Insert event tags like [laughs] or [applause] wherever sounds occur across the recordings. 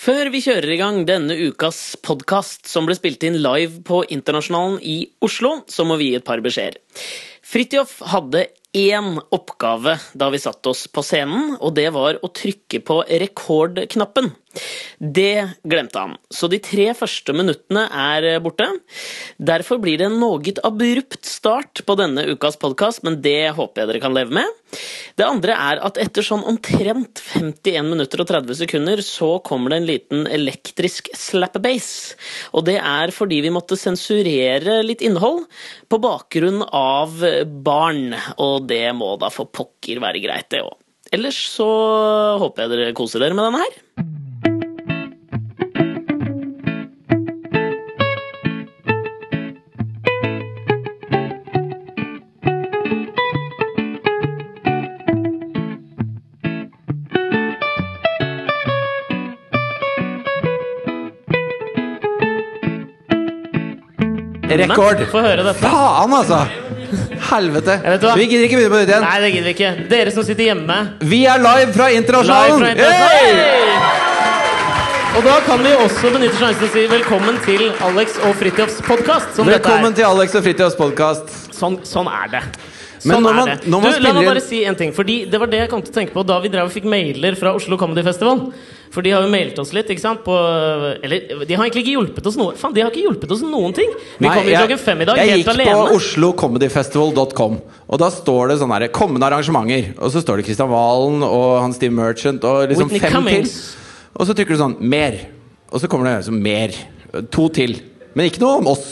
Før vi kjører i gang denne ukas podkast, som ble spilt inn live på Internasjonalen i Oslo, så må vi gi et par beskjeder. Fridtjof hadde én oppgave da vi satte oss på scenen, og det var å trykke på rekordknappen. Det glemte han, så de tre første minuttene er borte. Derfor blir det en noe abrupt start på denne ukas podkast, men det håper jeg dere kan leve med. Det andre er at etter sånn omtrent 51 minutter og 30 sekunder så kommer det en liten elektrisk slap-bass. Og det er fordi vi måtte sensurere litt innhold på bakgrunn av barn. Og det må da for pokker være greit, det òg. Ellers så håper jeg dere koser dere med denne her. Rekord! Nei, Få høre dette. Faen, [laughs] altså! Helvete. vet hva. Vi gidder ikke begynne på nytt igjen. Nei, det gidder vi ikke. Dere som sitter hjemme. Vi er live fra Live Internasjonalen! fra Internasjonalen. Og da kan vi også benytte sjansen til å si velkommen til Alex og Fridtjofs podkast. Hey! Velkommen til Alex og Fritjofs podkast. Sånn, sånn er det. Men Sånn når er man- det. når man du, La meg spiller- bare si en ting. Fordi Det var det jeg kom til å tenke på da vi drev og fikk mailer fra Oslo Comedy Festival. For de har jo mailet oss litt. ikke sant? På, eller De har egentlig ikke hjulpet oss noe. Faen, de har ikke hjulpet oss noen ting! Vi Nei, kom jo jeg- klokken fem i dag, Jeg helt gikk alene. på oslocomedyfestival.com, og da står det sånn herre Kommende arrangementer. Og så står det Kristian Valen og han Steve Merchant og liksom Whitney fem Cummings. til. Og så trykker du sånn Mer. Og så kommer det liksom mer. To til. Men ikke noe om oss.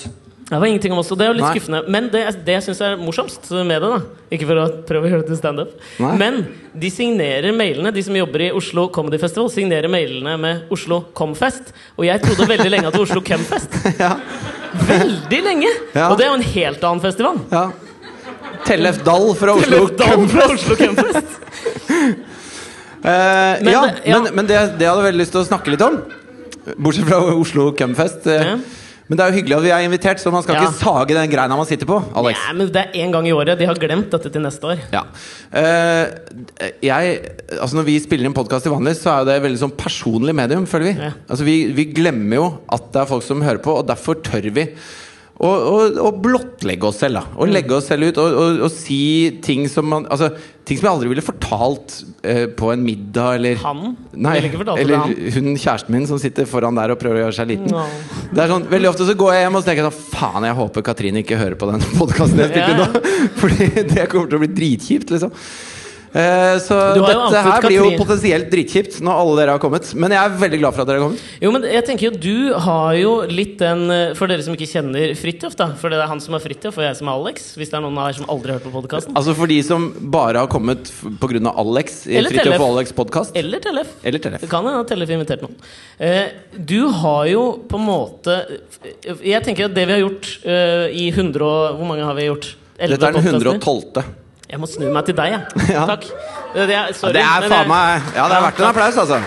Det var ingenting om oss, og det er jo litt Nei. skuffende. Men det, er- det jeg syns er morsomst med det, da Ikke for å prøve å gjøre det til standup, Nei. men de signerer mailene. De som jobber i Oslo Comedy Festival, signerer mailene med Oslo Comfest. Og jeg trodde veldig lenge at det var Oslo Cumfest. [laughs] Ja. Veldig lenge! Ja. Og det er jo en helt annen festival. ja. Tellef Dahl fra Oslo Løvdal fra Oslo Cumfest. [laughs] Eh, Men ja, det- ja. men, men det, det hadde jeg veldig lyst til å snakke litt om. Bortsett fra Oslo Cumfest. eh. Ja. Men det er jo hyggelig at vi er invitert, så man skal Ja. ikke sage den greina man sitter på. Alex Nei, men det er én gang i året. De har glemt dette til neste år. ja. Eh, jeg, altså Når vi spiller inn podkast til vanlig, så er jo det veldig sånn personlig medium, føler vi. Ja. Altså vi, vi glemmer jo at det er folk som hører på, og derfor tør vi å, å, å blottlegge oss selv. da Mm. Å legge oss selv ut og, og, og si ting som man Altså ting som jeg aldri ville fortalt eh, på en middag eller Han? Nei, Ville ikke fortalt det eller til hun kjæresten min som sitter foran der og prøver å gjøre seg liten. Nå. Det er sånn, Veldig ofte så går jeg hjem og så tenker jeg sånn Faen, jeg håper Katrine ikke hører på den [laughs] podkasten jeg spilte Ja, ja. nå. [laughs] Fordi det kommer til å bli dritkjipt, liksom. Eh, så Du har jo dette outet her blir jo Katrine. potensielt dritkjipt når alle dere har kommet. Men jeg er veldig glad for at dere har kommet. Jo, men jeg tenker jo Du har jo litt den eh, For dere som ikke kjenner Fridtjof, da. For det er han som er Fridtjof, og jeg som er Alex. Hvis det er noen av dere som aldri har hørt på podkasten. Altså For de som bare har kommet pga. Alex i Eller Fridtjof Tellef. og Alex podkast. Eller Tellef. Eller Tellef. Det kan hende at Tellef har invitert noen. Eh, du har jo på en måte eh, Jeg tenker at det vi har gjort eh, i 100 og Hvor mange har vi gjort? 11 Dette er den podcaster. 112. Jeg må snu meg til deg, jeg. [laughs] Ja. Takk. Eh, Det er, Ja, sorry, det er men faen meg Ja, det er verdt en takk. applaus, altså.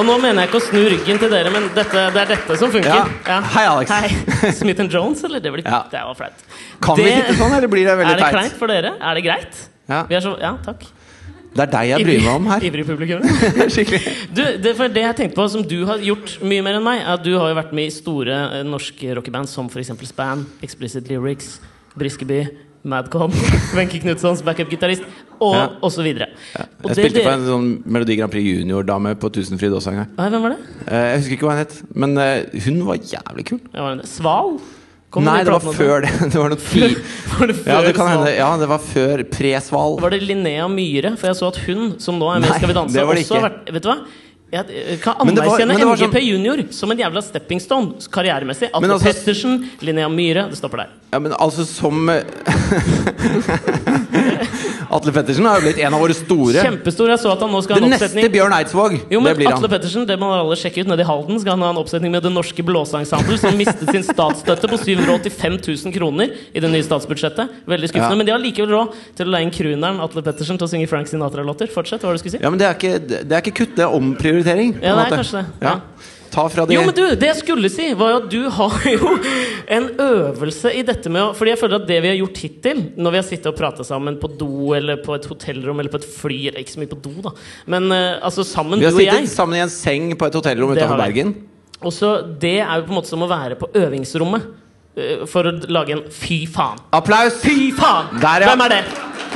Og nå mener jeg ikke å snu ryggen til dere, men dette, det er dette som funker. Ja. Hei, Alex. [laughs] Hei. Smith Jones, eller? Det, blir, Ja. det var flaut. Kan vi sitte sånn, eller blir det veldig Er det teit? kleint for dere? Er det greit? Ja. Vi er så, ja, takk. Det er deg jeg bryr meg [laughs] om her. Ivrig publikum. [laughs] Skikkelig Du, det, for det jeg tenkte på som du har gjort mye mer enn meg, er at du har jo vært med i store eh, norske rockeband som f.eks. Span, Explicit Lyrics, Briskeby, Madcom, [laughs] Wenche Knutsons backup-gitarist og Ja. osv. Ja. Jeg spilte for en sånn Melodi Grand Prix Junior-dame på Tusenfryd også en gang. Nei, hvem var det? Eh, Jeg husker ikke hva hun het, men eh, hun var jævlig kul. Ja, var det det? Sval? Nei, det var før det. [laughs] Det var noe ti... [laughs] Var det før Ja, det kan Sval? hende. Ja, det var før Presval. Var det Linnea Myhre? For jeg så at hun, som nå er med i Nei, Skal vi danse, det var det også har ikke. vært Vet du hva? Jeg eh, kan Men det var- anerkjenne men det var MGP sånn- junior som en jævla stepping stone karrieremessig. Atle Men altså- Pettersen, Linnea Myhre. Det stopper der. Ja, men altså som eh, [laughs] Atle Pettersen har jo blitt en av våre store. Kjempestor. Jeg så at han nå skal ha Den en neste oppsetning. Bjørn Eidsvåg. Jo, Det men blir Atle han. Pettersen, det må alle sjekke ut nede i Halden, skal han ha en oppsetning med Det Norske Blåseensemble, som mistet sin statsstøtte på 785 000 kroner i det nye statsbudsjettet. Veldig skuffende. Ja. Men de har likevel råd til å leie inn crooneren Atle Pettersen til å synge Frank Sinatra-låter. Fortsett, hva var det du skulle si? Ja, men det er ikke, det er ikke kutt, det er omprioritering. på Ja, en det er måte. kanskje det. Ja. Ja. Ta fra de Jo, men du, Det jeg skulle si, var jo at du har [laughs] jo en øvelse i dette med å Fordi jeg føler at det vi har gjort hittil, når vi har sittet og prata sammen på do eller på et hotellrom eller på et fly eller Ikke så mye på do, da. Men eh, altså sammen, Vi du har og jeg. sittet sammen i en seng på et hotellrom Det har vi. utenfor Bergen. Og så Det er jo på en måte som å være på øvingsrommet eh, for å lage en fy faen. Applaus! Fy faen! Der, ja. Hvem er det?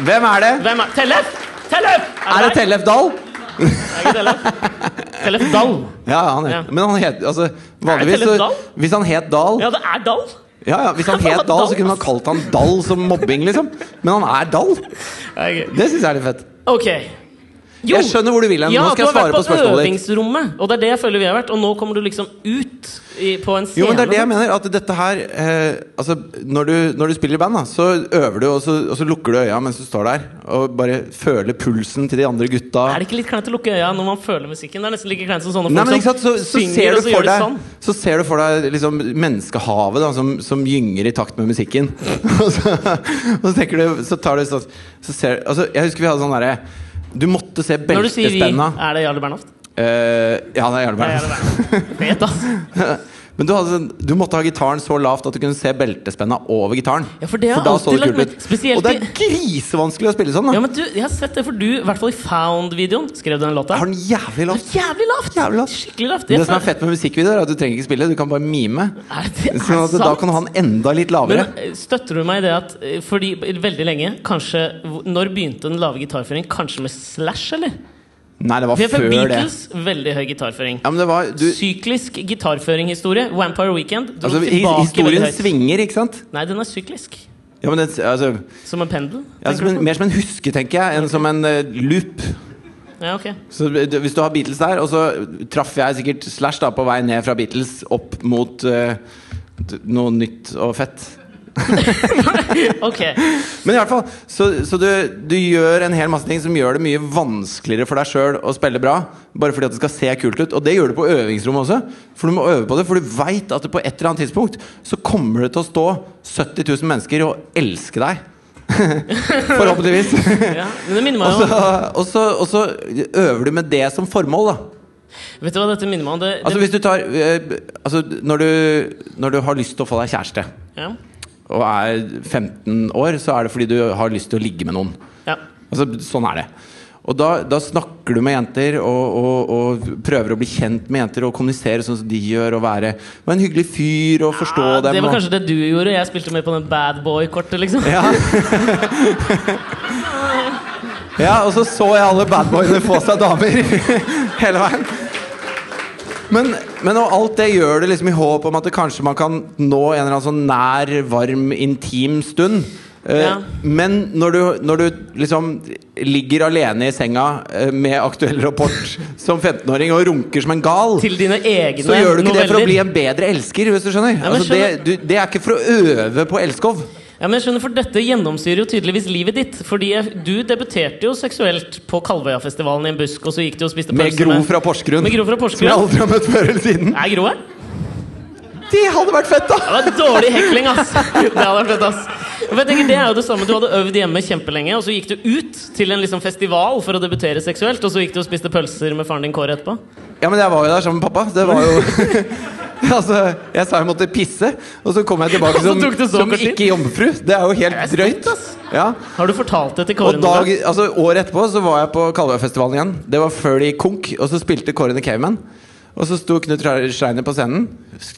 Hvem er det? Hvem er Tellef! Tellef! Er det deg? Tellef Dahl? Er ikke Tellef? Tellef Dahl. [laughs] Ja, han Ja. er. Men han het altså, Vanligvis Tellef så, Dahl? Hvis han het Dahl Ja, det er Dahl. Ja, ja, [laughs] Hvis han het Dahl, så kunne man kalt han Dahl som mobbing, liksom. Men han er Dahl. Det syns jeg er litt fett. Ok. Jo. Jeg skjønner hvor du vil hen. Ja, Nå skal jeg svare Du har på vært på spørsmålet ditt. øvingsrommet, og det er det jeg føler vi har vært. Og nå kommer du liksom ut i, på en scene. Jo, men det er det jeg mener. At dette her eh, Altså, når du, når du spiller i band, da, så øver du, og så, og så lukker du øya mens du står der, og bare føler pulsen til de andre gutta. Er det ikke litt kleint å lukke øya når man føler musikken? Det er nesten like kleint som sånne folk Nei, men ikke sant, så, som så, synger, ser og du så for gjør de deg, sånn. så ser du for deg liksom menneskehavet da, som, som gynger i takt med musikken. [laughs] og, så, og så tenker du Så tar du sånn så ser, altså, Jeg husker vi hadde sånn derre Du måtte se Når du sier vi, beltespenna. er det Jarle Bernhoft? Eh, ja, det er Det er Jarle Jarlberg. Bernhoft. Vet, altså. [laughs] Men du, hadde, sånn- du måtte ha gitaren så lavt at du kunne se beltespenna over gitaren. Ja, for det har jeg da så alltid det lagt kult merke- ut. spesielt Og det er grisevanskelig å spille sånn. Da. Ja, men du, jeg har sett det, for du, i hvert fall i Found-videoen, skrev du den låta. Jeg har den jævlig lavt. Jævlig lavt! Jævlig lavt. Skikkelig lavt. Men det som er fett med musikkvideoer, er at du trenger ikke spille, du kan bare mime. Er det, er Sånn at da sant? kan du ha den enda litt lavere. Men eh, støtter du meg i det at eh, Fordi veldig lenge, kanskje hvor- Når begynte den lave gitarføringen? Kanskje med Slash, eller? Nei, det var For før det. Beatles, veldig høy gitarføring. Ja, men det var du, Syklisk gitarføringhistorie. Vampire Weekend dro altså, hi- tilbake Historien veldig høyt. svinger, ikke sant? Nei, den er syklisk. Ja, men det, altså, Som en pendel. ja, altså, som en, mer som en huske, tenker jeg, enn som en eh, loop. Ja, ok. Så det- hvis du har Beatles der, og så traff jeg sikkert Slash da på vei ned fra Beatles opp mot eh, d- noe nytt og fett. Ok. Men i hvert fall, så, så du, du gjør en hel masse ting som gjør det mye vanskeligere for deg sjøl å spille bra. Bare fordi at det skal se kult ut. Og det gjør du på øvingsrommet også. For du må øve på det, for du veit at det på et eller annet tidspunkt så kommer det til å stå 70 000 mennesker og elske deg. [laughs] Forhåpentligvis. [laughs] Ja, men det minner meg om Og så, og, så, og så øver du med det som formål, da. Vet du hva dette minner meg om? Det, det, Altså hvis du tar eh, Altså når du, når du har lyst til å få deg kjæreste, ja. og er 15 år, så er det fordi du har lyst til å ligge med noen. Ja. Altså, sånn er det. Og da, da snakker du med jenter og, og, og prøver å bli kjent med jenter og kommunisere sånn som de gjør, og være være en hyggelig fyr og forstå Ja, dem. Ah, det var og- kanskje det du gjorde. Jeg spilte med på den bad boy-kortet, liksom. ja. ja, og så så jeg alle badboyene få seg damer [laughs] hele veien. Men, men og alt det gjør det liksom i håp om at det kanskje man kan nå en eller annen sånn nær, varm, intim stund. Eh, Ja. Men når du, når du liksom ligger alene i senga eh, med aktuell rapport som 15-åring og runker som en gal [laughs] Til dine egne så gjør du ikke det for å noveller. bli en bedre elsker, hvis du skjønner. Ja, men altså, det, du, det er ikke for å øve på elskov. Ja, men jeg skjønner, for Dette gjennomsyrer jo tydeligvis livet ditt. Fordi jeg, Du debuterte jo seksuelt på Kalvøyafestivalen i en busk, og så gikk du og spiste Med pølse Gro fra Porsgrunn. Med Gro fra Som jeg Porsgrunn. aldri har møtt før eller siden. Er Gro her? Det hadde vært fett, da! Det var dårlig hekling, ass! Det hadde vært fett, ass. For jeg tenker, det er jo det samme. Du hadde øvd hjemme kjempelenge, og så gikk du ut til en liksom festival for å debutere seksuelt, og så gikk du og spiste pølser med faren din Kåre etterpå. Ja, men jeg var jo der sammen med pappa. Det var jo [laughs] Altså, Jeg sa jeg måtte pisse, og så kom jeg tilbake [laughs] Og så som, tok det så som kort tid. ikke-jomfru. Det er jo Det helt er stort, drøyt. ass. Ja. Har du fortalt det til Og Kåre noen dag, gang? altså, Året etterpå så var jeg på Kalvøyfestivalen igjen. Det var før de konk, og så spilte Kåre the Caveman. Og så sto Knut Re- Schreiner på scenen.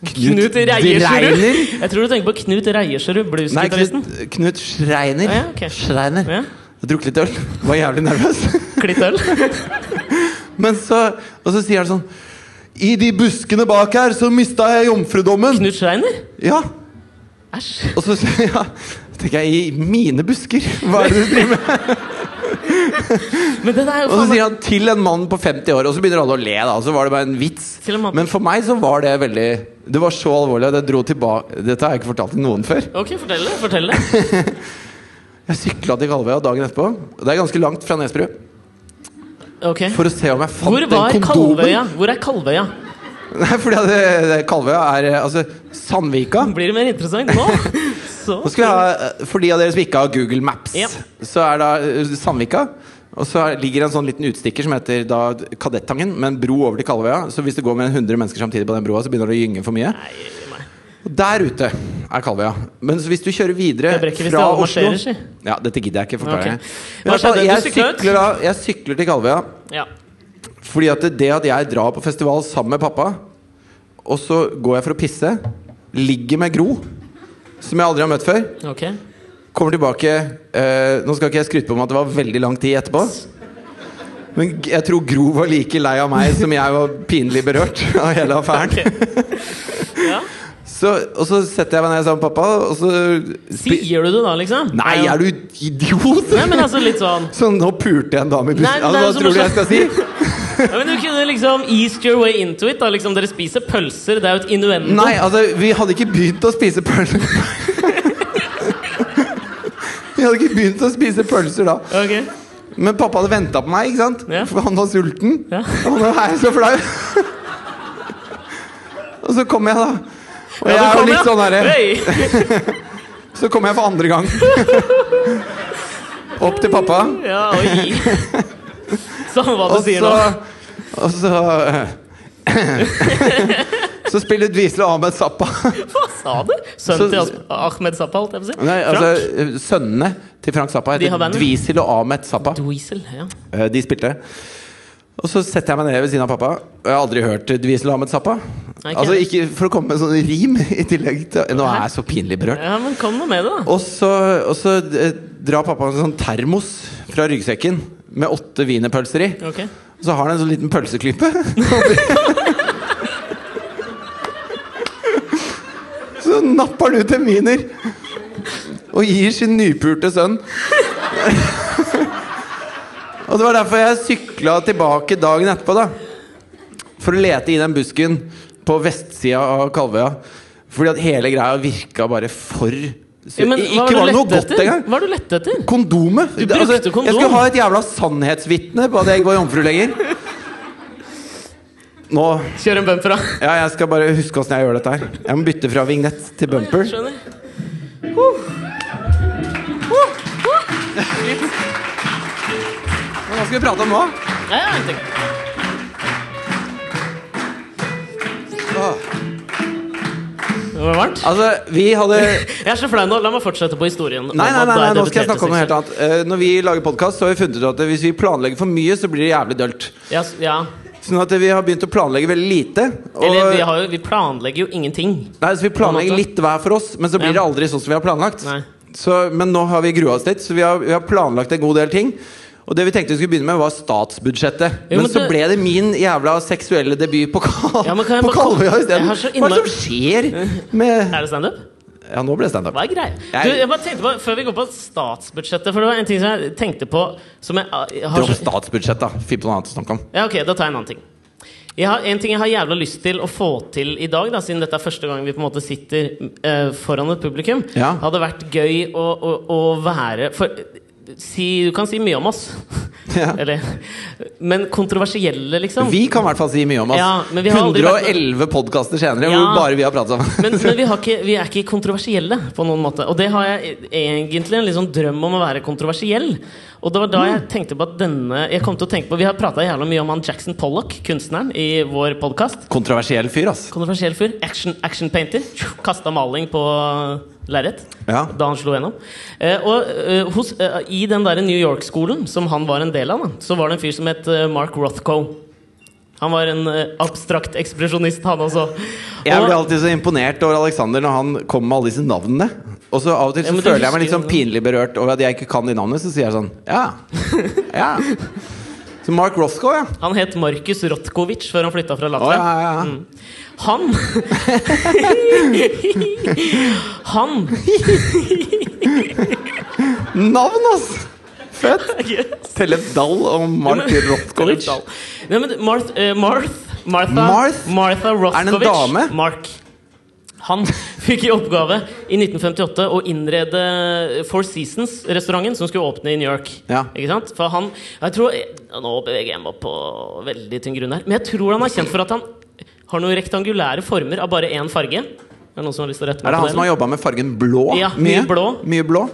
Knut Reiersrud? Dreiner? Jeg tror du tenker på Knut Reiersrud, Nei, bluesgitaristen. Knut, Knut Schreiner. Ah, ja, ok. Schreiner. Ja. Jeg drukket litt øl. Var jævlig nervøs. Klitt øl. Men så, og så sier han sånn I de buskene bak her så mista jeg jomfrudommen. Knut Schreiner? Ja, Æsj. Og så [laughs] ja, tenker jeg I mine busker? Hva er det du driver med? Men det der er jo Og så faen sier han til en mann på 50 år, og så begynner alle å le. da Og så var det bare en vits. Til en mann- Men for meg så var det veldig Det var så alvorlig at jeg dro tilbake Dette har jeg ikke fortalt til noen før. Ok, fortell det. fortell det Jeg sykla til Kalvøya dagen etterpå. Det er ganske langt fra Nesbru. Ok For å se om jeg fant Hvor var den Kalvøya? kondomen. Hvor er Kalvøya? [laughs] Nei, fordi at eh, Kalvøya er eh, Altså, Sandvika Blir det mer interessant [laughs] nå? Så Nå skal vi ha, eh, For de av dere som ikke har Google Maps, Ja. så er da eh, Sandvika. Og så er- ligger en sånn liten utstikker som heter da Kadettangen, med en bro over til Kalvøya. Så hvis det går med 100 mennesker samtidig på den broa, så begynner det å gynge for mye. Nei, nei. Og der ute er Kalvøya. Men så hvis du kjører videre Jeg brekker hvis fra det alle Oslo marsjerer, si. Ja, dette gidder jeg ikke forklare. Ok. Men i hvert fall, skjedde? Du Jeg, syklet ut? sykler, da- jeg sykler til Kalvøya Ja. fordi at det at jeg drar på festival sammen med pappa, og så går jeg for å pisse, ligger med Gro, som jeg aldri har møtt før, Ok. kommer tilbake eh, Nå skal ikke jeg skryte på meg at det var veldig lang tid etterpå. Men g- jeg tror Gro var like lei av meg som jeg var pinlig berørt av hele affæren. Ja. Så, og så setter jeg meg ned sammen med pappa, og så spi- Sier du det da, liksom? Nei, er du idiot? Nei, men altså litt sånn Sånn, nå pulte jeg en dame i bussen. Nei, men det er jo så altså, hva tror du jeg skal si? ja, Men du kunne liksom eased your way into it. da liksom Dere spiser pølser, det er jo et innuendo. Nei, altså, vi hadde ikke begynt å spise pølser. [laughs] Vi hadde ikke begynt å spise pølser da. Ok. Men pappa hadde venta på meg, ikke sant? Ja. For han var sulten. [laughs] Ja. Og nå er jeg så flau. [laughs] Og så kom jeg, da. Og jeg Ja, du er jo kom, litt ja. sånn herre Hei. Så kom jeg for andre gang. [laughs] Opp til pappa. Ja, oi. Samme hva du Og sier så nå. [laughs] Og så [laughs] Så spiller Dwisle Ahmed Zappa. Hva sa du? Så- Sønnen til As- Ahmed Zappa, holdt jeg på å si. Nei, Frank? eh, altså Sønnene til Frank Zappa De har heter bandet. Dwisle og Ahmed Zappa. Dweezil, ja. Eh, De spilte. Og så setter jeg meg ned ved siden av pappa. Og jeg har aldri hørt Dwisle Ahmed Zappa. Nei, ikke Altså heller. ikke For å komme med sånn rim i tillegg til Nå er jeg så pinlig berørt. ja, men kom nå med det, da. Og så, og så eh, drar pappa en sånn termos fra ryggsekken med åtte wienerpølser i. Ok. Og så har han en sånn liten pølseklype. så napper han ut en wiener og gir sin nypulte sønn. [laughs] og det var derfor jeg sykla tilbake dagen etterpå, da. For å lete i den busken på vestsida av Kalvøya. Fordi at hele greia virka bare for Ja, men, hva Ikke var det noe godt engang. Hva er du lette etter? Kondomet! Altså, Du brukte kondom. Jeg skulle ha et jævla sannhetsvitne på at jeg ikke var jomfru lenger. Nå Kjør en bumper, da. Ja, jeg skal bare huske åssen jeg gjør dette her. Jeg må bytte fra vignett til bumper. Skjønner. Hva skal vi prate om nå? Ja, ja, jeg tenker- det var varmt. Altså, vi hadde [laughs] Jeg er så flau nå. La meg fortsette på historien. om Nei, nei, at nei, nei, da jeg nå skal debuterte jeg snakke om noe helt seksuelt. annet. Eh, Når vi lager podkast, har vi funnet ut at hvis vi planlegger for mye, så blir det jævlig dølt. Ja, s- ja. Sånn at vi har begynt å planlegge veldig lite. Eller vi, Og, har jo, vi planlegger jo ingenting. nei, så på en vi måte. planlegger litt hver for oss, men så Ja. blir det aldri sånn som vi har planlagt. Nei. Så, men nå har vi grua oss litt, så vi har, vi har planlagt en god del ting. Og det vi tenkte vi skulle begynne med, var statsbudsjettet. Jo, men, men så det- ble det min jævla seksuelle debut på, Kal Ja, men kan jeg på bare- Kalvøya Jeg har isteden. Hva så er det som skjer med Er det standup? Ja, nå ble det standup. Hva er greia? Du, jeg bare tenkte på, Før vi går på statsbudsjettet For det var en ting som jeg tenkte på Som jeg, eh, har Dropp så, statsbudsjett, da. Finn på noe annet å snakke om. Ja, ok, da tar jeg en annen ting. Jeg har, en ting jeg har jævla lyst til å få til i dag, da, siden dette er første gang vi på en måte sitter eh, foran et publikum, Ja. hadde vært gøy å, å, å være For si, du kan si mye om oss. [laughs] Ja. Eller, men kontroversielle, liksom. Vi kan i hvert fall si mye om oss. Ja, men vi har aldri vært- 111 podkaster senere Ja. hvor bare vi har pratet sammen. Men, men vi, har ikke, vi er ikke kontroversielle på noen måte. Og det har jeg egentlig en litt sånn drøm om å være kontroversiell. Og det var da Mm. jeg tenkte på at denne Jeg kom til å tenke på Vi har prata jævla mye om han Jackson Pollock, kunstneren, i vår podkast. Kontroversiell fyr, ass. Kontroversiell fyr. Action, action painter. Kasta maling på eh, lerret Ja. da han slo gjennom. Eh, og eh, hos, eh, i den der New York-skolen som han var en del av, da, så var det en fyr som het eh, Mark Rothko. Han var en eh, abstrakt ekspresjonist, han også. Jeg Og- blir alltid så imponert over Alexander når han kommer med alle disse navnene. Og så av og til Ja, så men du føler jeg meg litt husker jo sånn pinlig berørt over at jeg ikke kan de navnene. Så sier jeg sånn Ja. ja Så Mark Roscoe, ja. Han het Markus Rotkovic før han flytta fra Å, Latvia. ja, ja, ja. Han [laughs] Han Navn, ass! [laughs] Fett. Tellef Dahl og Mark Rotkovic. Nei, men Marth, eh, Marth, Martha, Marth? Martha Rothkovic. en dame? Mark. Han [laughs] fikk i oppgave i 1958 å innrede Four Seasons-restauranten som skulle åpne i New York. Ja. Ikke sant? For han jeg tror, Nå beveger jeg meg på veldig tynn grunn her. Men jeg tror han er kjent for at han har noen rektangulære former av bare én farge. Er det noen som har lyst til å rette meg Er det på han som har jobba med fargen blå? Ja, mye blå. Mye blå?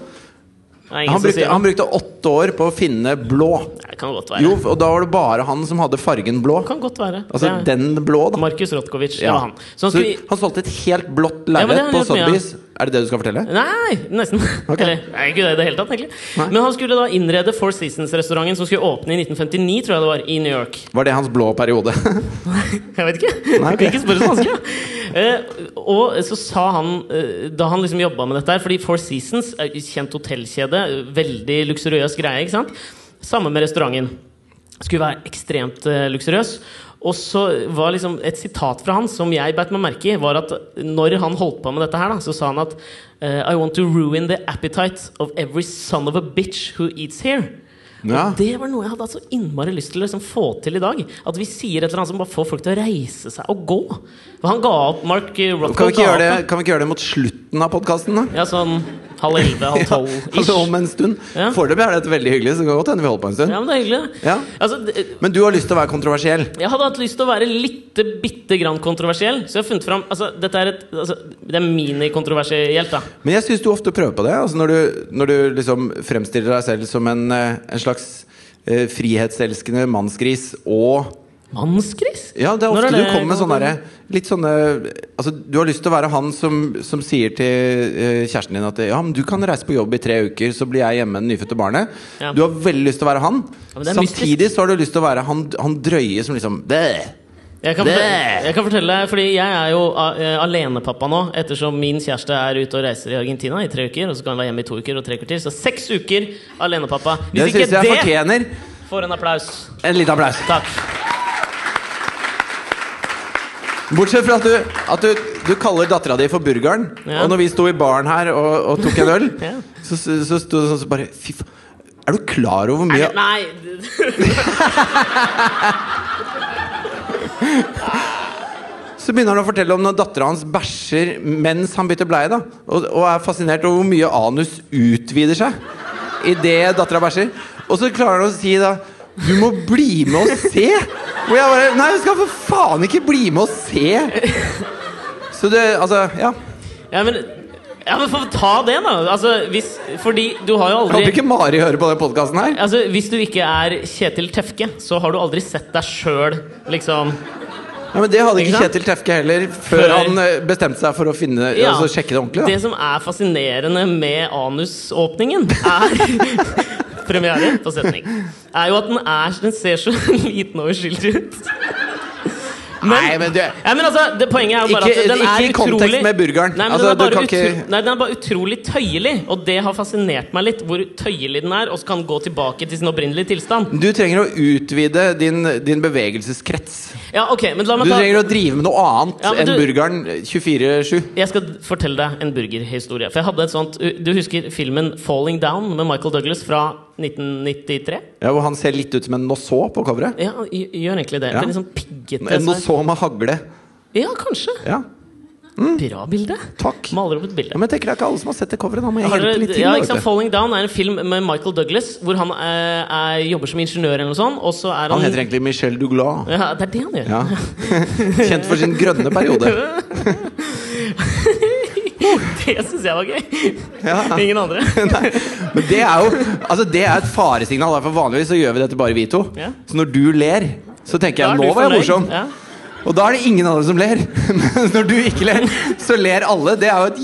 er ingen som Han sier brukte, det. han brukte åtte år på å finne blå. Det kan godt være. Jo, og da var det bare han som hadde fargen blå. Det kan godt være. Altså det er den blå, da. Markus Rotkovic, det Ja. var han. Så han Så skulle... han solgte et helt blått Ja, men det lerret har han på gjort mye av. Sotheby's. Er det det du skal fortelle? Nei, nesten. Ok. Eller nei, ikke det i det hele tatt, egentlig. Men han skulle da innrede Four Seasons-restauranten som skulle åpne i 1959, tror jeg det var, i New York. Var det hans blå periode? [laughs] [laughs] Jeg vet ikke. Nei, ok. Kan ikke spørre så vanskelig. ja. Eh, og så sa han, eh, da han liksom jobba med dette her Fordi Four Seasons er et kjent hotellkjede. Veldig luksuriøs greie. ikke sant? Samme med restauranten. Skulle være ekstremt eh, luksuriøs. Og så var liksom Et sitat fra han som jeg beit meg merke i, var at når han holdt på med dette, her da så sa han at eh, I want to ruin the appetite of every son of a bitch who eats here. Ja. Og det var noe jeg hadde hatt så innmari lyst til å liksom få til i dag. At vi sier et eller annet som bare får folk til å reise seg og gå. For han ga opp Mark eh, Rothko. Kan vi, ikke ga gjøre det, opp, kan vi ikke gjøre det mot slutten av podkasten, da? da. Ja, sånn halv elleve, halv [laughs] Ja, tolv-ish. altså om en stund. Ja. Foreløpig er dette veldig hyggelig, så det kan godt hende vi holder på en stund. Ja, men det er hyggelig. det. Ja. Altså, det- Men du har lyst til å være kontroversiell. jeg hadde hatt lyst til å være litt bitte grann kontroversiell, så jeg har funnet fram altså, Dette er et altså, Det er minikontroversielt, da. Men jeg syns du ofte prøver på det. Altså når, du, når du liksom fremstiller deg selv som en, eh, en slags eh, frihetselskende mannsgris og Mannsgris? Ja, det er Når ofte du kommer med kommet sånne opp? derre Litt sånne Altså, du har lyst til å være han som, som sier til eh, kjæresten din at Ja, men du kan reise på jobb i tre uker, så blir jeg hjemme med det nyfødte barnet. Ja. Du har veldig lyst til å være han. Ja, men det er Samtidig så har du lyst til å være han, han drøye som liksom «Bæ!» Jeg kan, Det- fortelle, jeg kan fortelle deg, fordi jeg er jo a- eh, alenepappa nå, ettersom min kjæreste er ute og reiser i Argentina i tre uker, og så kan han være hjemme i to uker og tre kvarter, så seks uker alenepappa. Det Hvis ikke syns jeg det fortjener får en applaus. en liten applaus. Takk. Bortsett fra at du, at du, du kaller dattera di for burgeren. Ja. Og når vi sto i baren her og, og tok en øl, [laughs] Ja. så, så, så sto det sånn så bare Fy faen. Er du klar over hvor mye Nei [laughs] Så begynner han å fortelle om når dattera hans bæsjer mens han bytter bleie. da og, og er fascinert over hvor mye anus utvider seg idet dattera bæsjer. Og så klarer han å si da Du må bli med og se! Og jeg bare Nei, du skal for faen ikke bli med og se! Så det Altså, ja. Ja, men, ja, men få ta det, da. Altså, hvis, fordi du har jo Jeg håper aldri ikke Mari hører på den podkasten her. Altså, Hvis du ikke er Kjetil Tefke, så har du aldri sett deg sjøl, liksom. Nei, men Det hadde Ikke ikke sant? Kjetil Tefke heller, før, Før. han eh, bestemte seg for å finne Ja. altså, sjekke det ordentlig. Det som er fascinerende med anusåpningen, er [laughs] Premiere på setning. Er jo at den, er, den ser så [laughs] liten og uskyldig ut. da Nei, men du Ja, men altså, det Poenget er jo bare Ikke- at den er ikke i kontekst utrolig med burgeren. Nei, men Altså, den, er du bare kan ikke- utro- nei, den er bare utrolig tøyelig, og det har fascinert meg litt. Hvor tøyelig den er, og så kan den gå tilbake til sin opprinnelige tilstand. Du trenger å utvide din, din bevegelseskrets. Ja, ok, men la Du meg ta trenger å drive med noe annet Ja, men enn du- burgeren 24-7. Jeg skal fortelle deg en burgerhistorie. For jeg hadde et sånt Du husker filmen 'Falling Down' med Michael Douglas fra 1993? Ja, hvor han ser litt ut som en noså på coveret. Ja, han gj- gjør egentlig det. Ja. Det er liksom piggete En noså med hagle. Ja, kanskje. Ja, Bra bilde. takk. Mm. Ja, Maler opp et bilde. men jeg tenker det er ikke alle som har sett det coveret. Da må jeg Har hjelpe dere- litt til. ja, da, ikke sant? vet du. Falling Down er en film med Michael Douglas hvor han eh, er, jobber som ingeniør eller noe sånt, og så er han Han heter egentlig Michel Douglas. ja, Det er det han gjør. Ja. Kjent for sin grønne periode. [laughs] Det syns jeg var gøy. Ja. Ingen andre. Nei, men det er jo altså det er et faresignal. da, For vanligvis så gjør vi dette bare vi to. Ja. Så når du ler, så tenker Da er jeg du nå var jeg fornøyd. morsom. Ja. Og da er det ingen andre som ler. [laughs] Men når du ikke ler, så ler alle. Det er jo et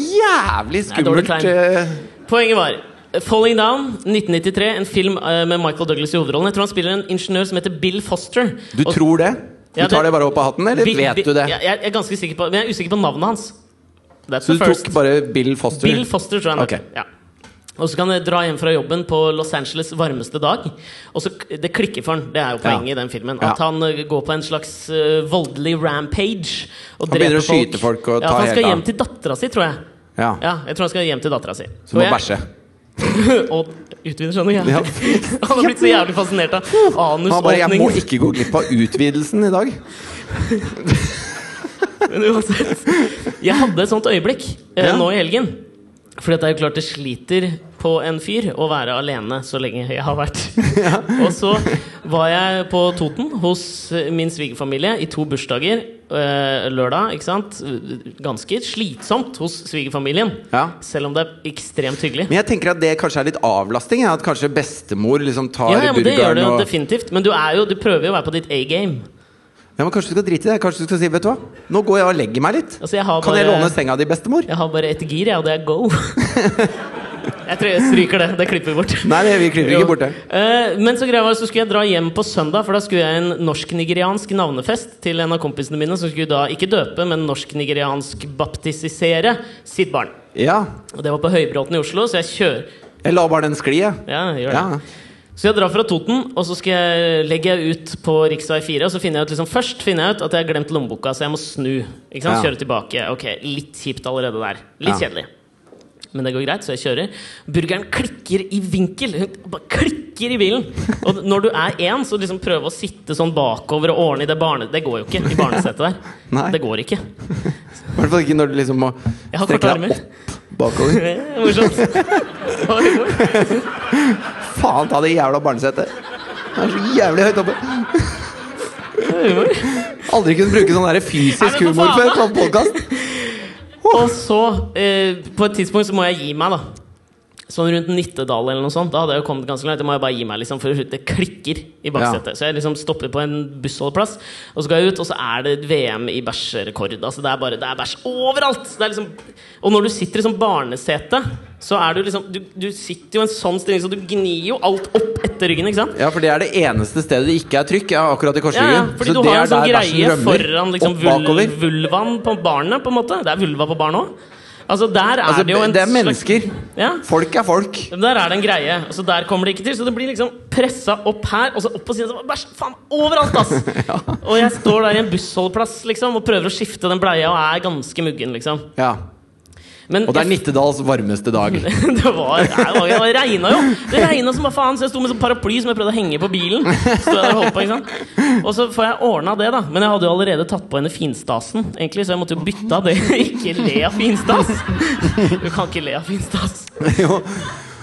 Nei, dårlig jævlig skummelt tegn. eh, Poenget var Falling Down, 1993, en film eh, med Michael Douglas i hovedrollen. Jeg tror han spiller en ingeniør som heter Bill Foster. Du Og- tror det? Du Ja, tar det- det bare opp av hatten, eller Bill- vet du det? Jeg, jeg er ganske sikker på Men jeg er usikker på navnet hans. That's Så the du first. tok bare Bill Foster? Bill Foster, tror jeg. han Ok. heter. Ja. Og så kan jeg dra hjem fra jobben på Los Angeles' varmeste dag. Og så k- Det klikker for han, det er jo poenget Ja. i den filmen. Ja. At han eh, går på en slags eh, voldelig rampage. Og Han begynner å skyte folk og ja, ta at Han helt skal av. hjem til dattera si, tror jeg. Ja. Ja, jeg tror han skal hjem til dattera si. Så må Og jeg- bæsje. [clears throat] og utvider, skjønner jeg. [laughs] Ja. Han har blitt så jævlig fascinert av Han bare 'Jeg må anusåpning. ikke gå glipp av utvidelsen i dag'. Men [laughs] uansett Jeg hadde et sånt øyeblikk eh, Ja. nå i helgen. For det er jo klart det [laughs] sliter på en fyr å være alene så lenge jeg har vært. Og så var jeg på Toten hos eh, min svigerfamilie i to bursdager. eh, Lørdag, ikke sant? Ganske slitsomt hos svigerfamilien. Ja. Selv om det er ekstremt hyggelig. Men jeg tenker at det kanskje er litt avlasting. Ja. At kanskje bestemor liksom tar Ja, ja, men det gjør burgeren det jo og definitivt. Men du, er jo, du prøver jo å være på ditt A-game. ja, men Kanskje du skal drite i det? Kanskje du skal si vet du hva? Nå går jeg og legger meg litt. Altså, jeg har Kan jeg bare- låne senga di, bestemor? Jeg har bare ett gir, jeg, og det er [laughs] go. jeg tror jeg stryker det. Det klipper vi bort. Nei, det, vi klipper Jo. ikke bort det. Eh, men så greia var så skulle jeg dra hjem på søndag, for da skulle jeg en norsk-nigeriansk navnefest til en av kompisene mine, som skulle da ikke døpe, men norsk-nigeriansk baptisisere sitt barn. Ja. Og det var på Høybråten i Oslo, så jeg kjører Jeg la bare den skli, jeg. Ja, gjør det. Ja. Så jeg drar fra Toten, og så skal jeg legge ut på rv. 4. Og så finner jeg ut liksom, først finner jeg ut at jeg har glemt lommeboka, så jeg må snu. Ikke sant? Ja. Kjøre tilbake. Ok, Litt kjipt allerede der. Litt Ja. kjedelig. Men det går greit, så jeg kjører. Burgeren klikker i vinkel! Hun bare klikker i bilen! Og når du er én, så liksom prøve å sitte sånn bakover og ordne i det barne... Det går jo ikke i barnesetet der. [laughs] Nei. Det går ikke. [laughs] I hvert fall ikke når du liksom må Jeg har strekke korte deg armer. opp bakover. Morsomt. Oi, oi. Faen ta det jævla barnesetet! Det er så jævlig høyt [laughs] oppe. Aldri kunne bruke sånn der fysisk Nei, men for humor på en faen, sånn podkast. Og så, eh, på et tidspunkt så må jeg gi meg, da. Sånn rundt Nittedal eller noe sånt. Da hadde jeg jo kommet ganske langt. Da må jeg bare gi meg, liksom, for det klikker i baksetet. Så jeg liksom stopper på en bussholdeplass, og så går jeg ut, og så er det VM i bæsjerekord. Altså, det er bare Det er bæsj overalt! Så Det er liksom, og når du sitter i sånn barnesete, så er du liksom du, du sitter jo i en sånn stilling, så du gnir jo alt opp etter ryggen, ikke sant? Ja, for det er det eneste stedet det ikke er trykk. Ja, akkurat i Ja, ja, korsryggen. fordi så du det har en er sånn der greie bæsjen rømmer. foran liksom, opp vul bakover. vulvaen på barnet, på en måte. Det er vulva på barn òg. Altså, der er Altså, det jo en det er slags- mennesker. Ja. Folk er folk. Men Der er det en greie, og så der kommer det ikke til. Så det blir liksom pressa opp her, og så opp på siden. Så bare bæsj, faen, overalt, [laughs] ass! Og jeg står der i en bussholdeplass liksom, og prøver å skifte den bleia, og er ganske muggen, liksom. Ja. Men Og det er jeg- Nittedals varmeste dag. [laughs] det var, det var, det regna jo! Det regna som bare faen, så jeg sto med sånn paraply som jeg prøvde å henge på bilen. Stod jeg der og holdt på, ikke sant? Og så får jeg ordna det, da. Men jeg hadde jo allerede tatt på henne finstasen, egentlig, så jeg måtte jo bytte av det. [laughs] Ikke le av finstas! Du kan ikke le av finstas. jo.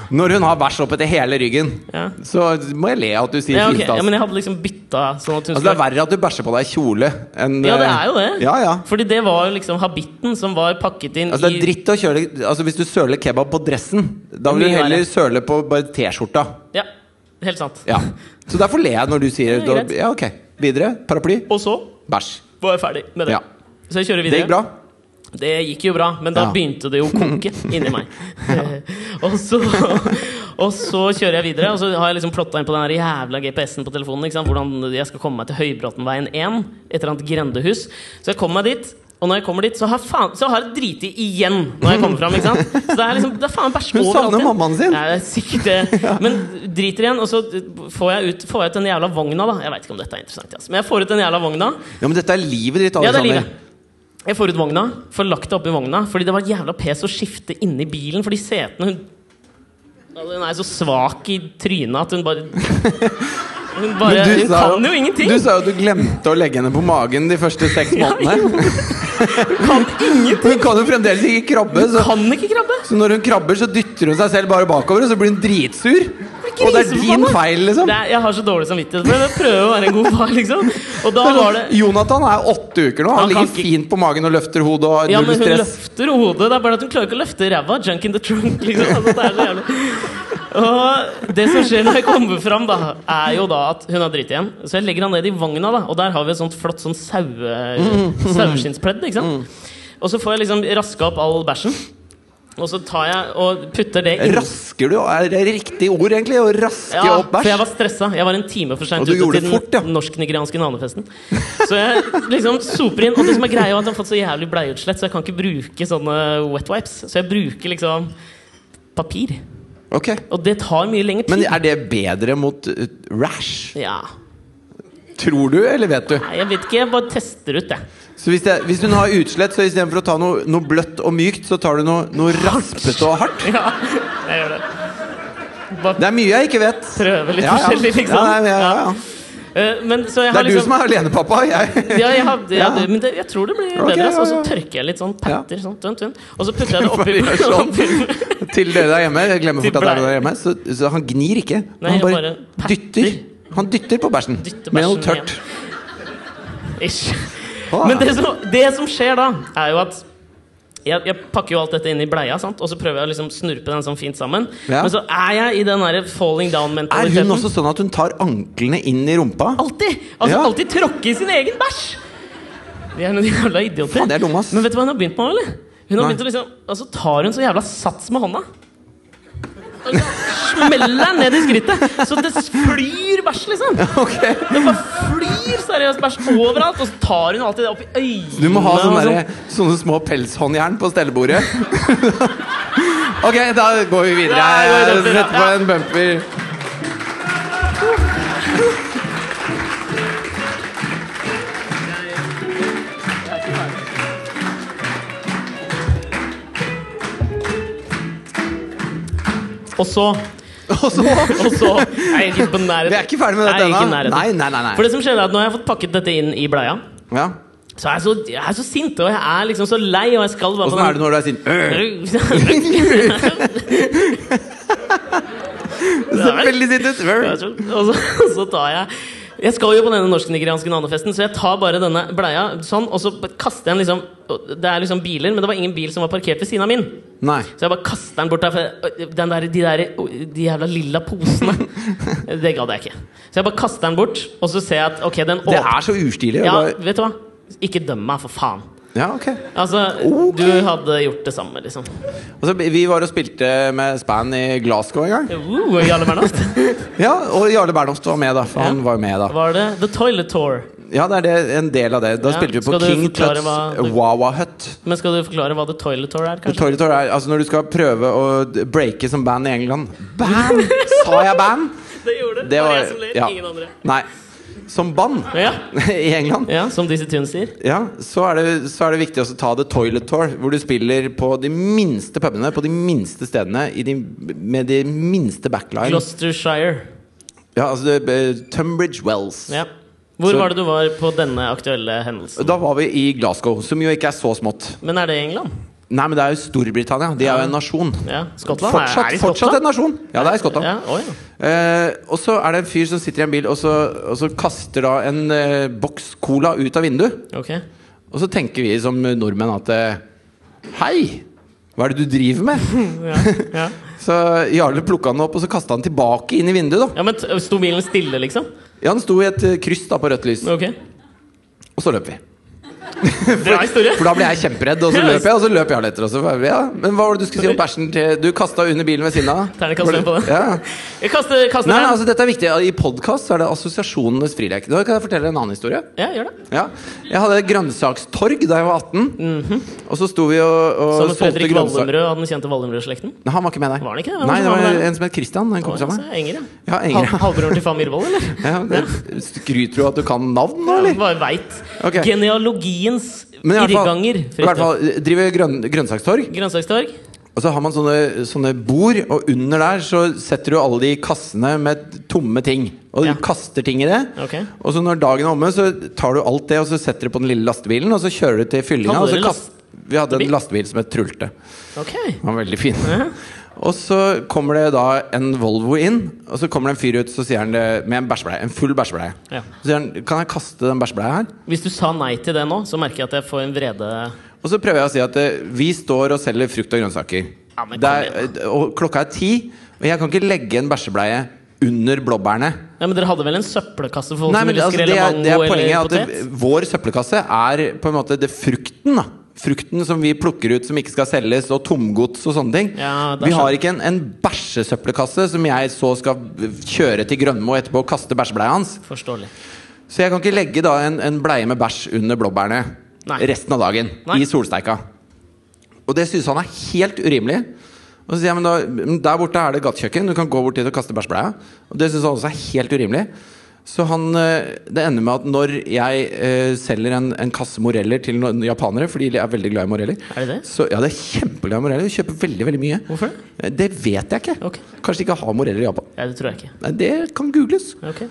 Når hun har bæsj oppetter hele ryggen, Ja. så må jeg le av at du sier Ja, ok. finstas. ja, men jeg hadde liksom bytta sånn at hun Altså Det er skulle verre at du bæsjer på deg kjole enn eh, Ja, det er jo det. Ja, ja. Fordi det var jo liksom habitten som var pakket inn Altså det er i dritt å kjøre Altså Hvis du søler kebab på dressen, da vil Mye du heller verre. søle på bare T-skjorta. Ja, helt sant. Ja Så derfor ler jeg når du sier Det er greit. Ja, ok. Videre. Paraply. Og så Bæsj. var jeg ferdig med det. Ja. Så jeg kjører Det videre. gikk bra. Det gikk jo bra, men da Ja. begynte det jo å koke inni [laughs] meg. Eh, [laughs] og, så, og så kjører jeg videre, og så har jeg liksom plotta inn på den her jævla GPS-en på telefonen. Ikke sant? Hvordan jeg skal komme meg til Høybråtenveien 1, et eller annet grendehus. Så jeg kommer meg dit, og når jeg kommer dit, så har, faen, så har jeg driti igjen. Når jeg kommer fram, ikke sant? Så det er liksom, det er faen bæsj Hun overalt. savner igjen. mammaen sin. Ja, det er sikkert [laughs] det. Men driter igjen, og så får jeg ut, får jeg ut den jævla vogna, da. Jeg veit ikke om dette er interessant, altså. men jeg får ut den jævla vogna. Ja, Men dette er livet ditt, Ja, det er Alexander. livet. Jeg får ut vogna, får lagt det oppi vogna, fordi det var jævla pes å skifte inni bilen. Fordi setene hun Ja, Hun er så svak i trynet at hun bare [laughs] Hun bare Men Hun sa kan jo ingenting! Du sa jo at du glemte å legge henne på magen de første seks [laughs] månedene. Kan ingenting! Hun kan jo fremdeles ikke krabbe, så, Kan ikke krabbe! så når hun krabber, så dytter hun seg selv bare bakover, og så blir hun dritsur. Og det er din Griseforbanna. feil, liksom. Det er, jeg har så dårlig samvittighet, men jeg prøver å være en god far, liksom. Og da Det er var det sånn, Jonathan er åtte uker nå. Han, Han kan ligger ikke- fint på magen og løfter hodet. Og Ja, null men hun stress løfter hodet. Det er bare at hun klarer ikke å løfte ræva. Junk in the trunk, liksom. Altså, det er så jævlig. Og det som skjer når jeg kommer fram, da, er jo da at hun har dritt igjen. Så jeg legger han ned i vogna, da, og der har vi et sånt flott sånn saue, saueskinnspledd. ikke Mm. sant? Og så får jeg liksom raska opp all bæsjen. Og så tar jeg og putter det inn. Rasker du? Er det riktig ord, egentlig? Å raske Ja, opp for jeg bæsj? var stressa. Jeg var en time for Og seint du ute gjorde til det den fort, ja. norsk-nigerianske navnefesten. Så jeg liksom soper inn. Og det som er greia, er at jeg har fått så jævlig bleieutslett, så jeg kan ikke bruke sånne wet wipes. Så jeg bruker liksom papir. Ok. Og det tar mye lengre tid. Men er det bedre mot uh, rash? Ja. Tror du, eller vet du? Nei, jeg vet ikke. Jeg bare tester ut, jeg. [laughs] Så hvis, det, hvis hun har utslett, så istedenfor å ta noe, noe bløtt og mykt, så tar du noe, noe raspete og hardt? Ja, jeg gjør det. Det Bare er mye jeg ikke vet. prøve litt Ja, ja. forskjellig, liksom. Ja, ja, ja, ja. Eh, Men så jeg Det har er du liksom som er alenepappa. [laughs] Jeg. ja, jeg har, ja, Ja. men det, jeg tror det blir Ok, bedre. ass. Og så ja, ja. tørker jeg litt sånn Ja. patter, sånn, tunt, tunt. Og så [laughs] putter jeg det Bare gjør [laughs] oppi sånn. Til dere der hjemme. Jeg glemmer Til fort at det er blei. dere der hjemme. Så, så han gnir ikke. Nei, han jeg bare bare dytter. patter. Han dytter på bæsjen Dytter med noe bæsjen tørt. Ish. Ah. Men det som, det som skjer da, er jo at jeg, jeg pakker jo alt dette inn i bleia, sant? og så prøver jeg å liksom snurpe den sånn fint sammen. Ja. Men så er jeg i den der falling Er hun down-mentaliteten. også sånn at hun tar anklene inn i rumpa? [laughs] Alltid! Altså Ja. alltid tråkke i sin egen bæsj! De er noen jævla idioter. Faen, de er dumme, ass. Men vet du hva hun har begynt med, eller? Hun har Nei. begynt å liksom Altså tar hun så jævla sats med hånda. Og liksom Smeller den ned i skrittet, så det flyr bæsj, liksom. Ok Det bare flyr seriøst bæsj overalt, og så tar hun alltid det opp i øynene. Du må ha og sånne, sånn. derre- sånne små pelshåndjern på stellebordet. [laughs] ok, da går vi videre. Ja, vi går Jeg videre, ja. setter på en bumper. [laughs] Og så Og så Og så Jeg er ikke på nærheten. Vi er ikke ferdig med Jeg er dette ikke i ennå. nærheten. Nei, nei, nei. For nei. det som skjer er at Nå har jeg fått pakket dette inn i bleia. Ja. Så jeg er så, jeg er så sint, og jeg er liksom så lei, og jeg skal bare Åssen sånn er det når du er sint? Øh, [laughs] Det Det er ser vel- [laughs] veldig sint ut. Øh. og så, og så tar jeg Jeg skal jo på denne norsk-nigerianske nanofesten, så jeg tar bare denne bleia sånn, og så bare kaster jeg den liksom og Det er liksom biler, men det var ingen bil som var parkert ved siden av min. Nei. Så jeg bare kaster den bort der, for jeg- den der, de der de jævla lilla posene [laughs] Det gadd jeg ikke. Så jeg bare kaster den bort, og så ser jeg at ok, den Det åpner er så ustilig. å Ja, bare- vet du hva? Ikke døm meg, for faen. Ja, ok Altså, Ok. du hadde gjort det samme, liksom. altså, Vi var og spilte med Span i Glasgow en gang. Uh, Jarle [laughs] Bernhoft. Ja, Og Jarle Bernhoft var med, da. For han Ja. var jo med da Var det The Toilet Tour? Ja, det er det, en del av det. Da Ja, spilte vi på skal du King forklare Tuts hva du- Wawa Hut. Men skal du forklare hva The Toilet Tour er, kanskje? Torgetor er altså når du skal prøve å d- breake som band i England. Band! [laughs] Sa jeg band? Det gjorde Det var jeg som ler, ja. ingen andre. Nei. Som band [laughs] Ja. i England, ja, som Dizzie Tunes sier. ja, så, er det, så er det viktig også å ta The Toilet Tour, hvor du spiller på de minste pubene, på de minste stedene, i de, med de minste backline. Gloucestershire. Ja, altså det, eh, Tunbridge Wells. Ja. Hvor Så- var det du var på denne aktuelle hendelsen? Da var vi i Glasgow, som jo ikke er så smått. Men er det i England? Nei, men det er jo Storbritannia. De er jo en nasjon. Ja. Skottland? Er- er Fortsatt, det i fortsatt Skottland? en nasjon! Ja, det er i Skottland. Ja, å ja. Eh, og så er det en fyr som sitter i en bil og så, og så kaster da en eh, boks cola ut av vinduet. Ok. Og så tenker vi som nordmenn at eh, Hei! Hva er det du driver [laughs] med? Ja, ja. Så Jarle plukka den opp og så kasta den tilbake inn i vinduet. da ja men t- Sto bilen stille, liksom? Ja, Den sto i et eh, kryss da på rødt lys, Ok. og så løp vi. Bra historie. For da ble jeg kjemperedd, og så løp jeg, og så løp Jarle etter. Og så, var vi, ja. Men hva var det du skulle si om bæsjen til Du kasta under bilen ved siden av? Ternekast Var det- fem på det. [laughs] Ja. Jeg kaster, kaster Nei, nei, den. altså Dette er viktig. I podkast er det assosiasjonenes frilek. Da kan jeg fortelle en annen historie. Ja, gjør det. Ja. Jeg hadde grønnsakstorg da jeg var 18. Og så sto vi og, og Mhm. Som solgte Fredrik grønnsaker. Wallumrød av den kjente Wallumrød-slekten. Nei, Han var ikke med der. Var han ikke? Hvem Nei, som det var var med der? en som het Christian. En kompis av meg. Altså, Enger, ja. Ja, Enger, Hal ja. Halvbroren til faen Myhrvold, eller? [laughs] Ja, det- Skryter du at du kan navn nå, eller? Bare veit. Ok. Genealogiens Men i hvert fall, irrganger. i hvert fall driver grønn, grønnsakstorg, Grønnsakstorg. og så har man sånne, sånne bord, og under der så setter du alle de kassene med tomme ting. Og du Ja. kaster ting i det. Ok. Og så når dagen er omme, så tar du alt det, og så setter du på den lille lastebilen, og så kjører du til fyllinga. Hadde Og så dere kast... Vi hadde en lastebil som het Trulte. Ok. Den var veldig fin. Og så kommer det da en Volvo inn, og så kommer det en fyr ut så sier han det med en bæsjbleie. En full bæsjbleie. Ja. Så sier han Kan jeg kaste den bæsjbleia her? Hvis du sa nei til det nå, så merker jeg at jeg får en vrede Og så prøver jeg å si at eh, vi står og selger frukt og grønnsaker. Ja, men det kom er, og klokka er ti, og jeg kan ikke legge en bæsjebleie under blåbærene. Ja, Men dere hadde vel en søppelkasse for folk Nei, som men ville altså, det, skrelle er, det er mango poenget eller at det, potet? vår søppelkasse er på en måte det frukten, da. Frukten som vi plukker ut som ikke skal selges, og tomgods og sånne ting. Ja, det er vi har sant. ikke en, en bæsjesøppelkasse som jeg så skal kjøre til Grønmo etterpå og kaste bæsjebleia hans. Forståelig. Så jeg kan ikke legge da en, en bleie med bæsj under blåbærene Nei. resten av dagen. Nei. I solsteika. Og det synes han er helt urimelig. Og så sier jeg, men da, men der borte er det gattkjøkken, du kan gå bort dit og kaste bæsjbleia. Og det synes han også er helt urimelig. Så han, eh, det ender med at når jeg eh, selger en, en kasse moreller til noen japanere, fordi de er veldig glad i moreller Er det det? Så, Ja, det er kjempeglad i moreller. De kjøper veldig, veldig mye. Hvorfor det? Eh, Det vet jeg ikke. Ok. Kanskje de ikke har moreller i Japan. Nei, det tror jeg ikke. Nei, det kan googles. Ok.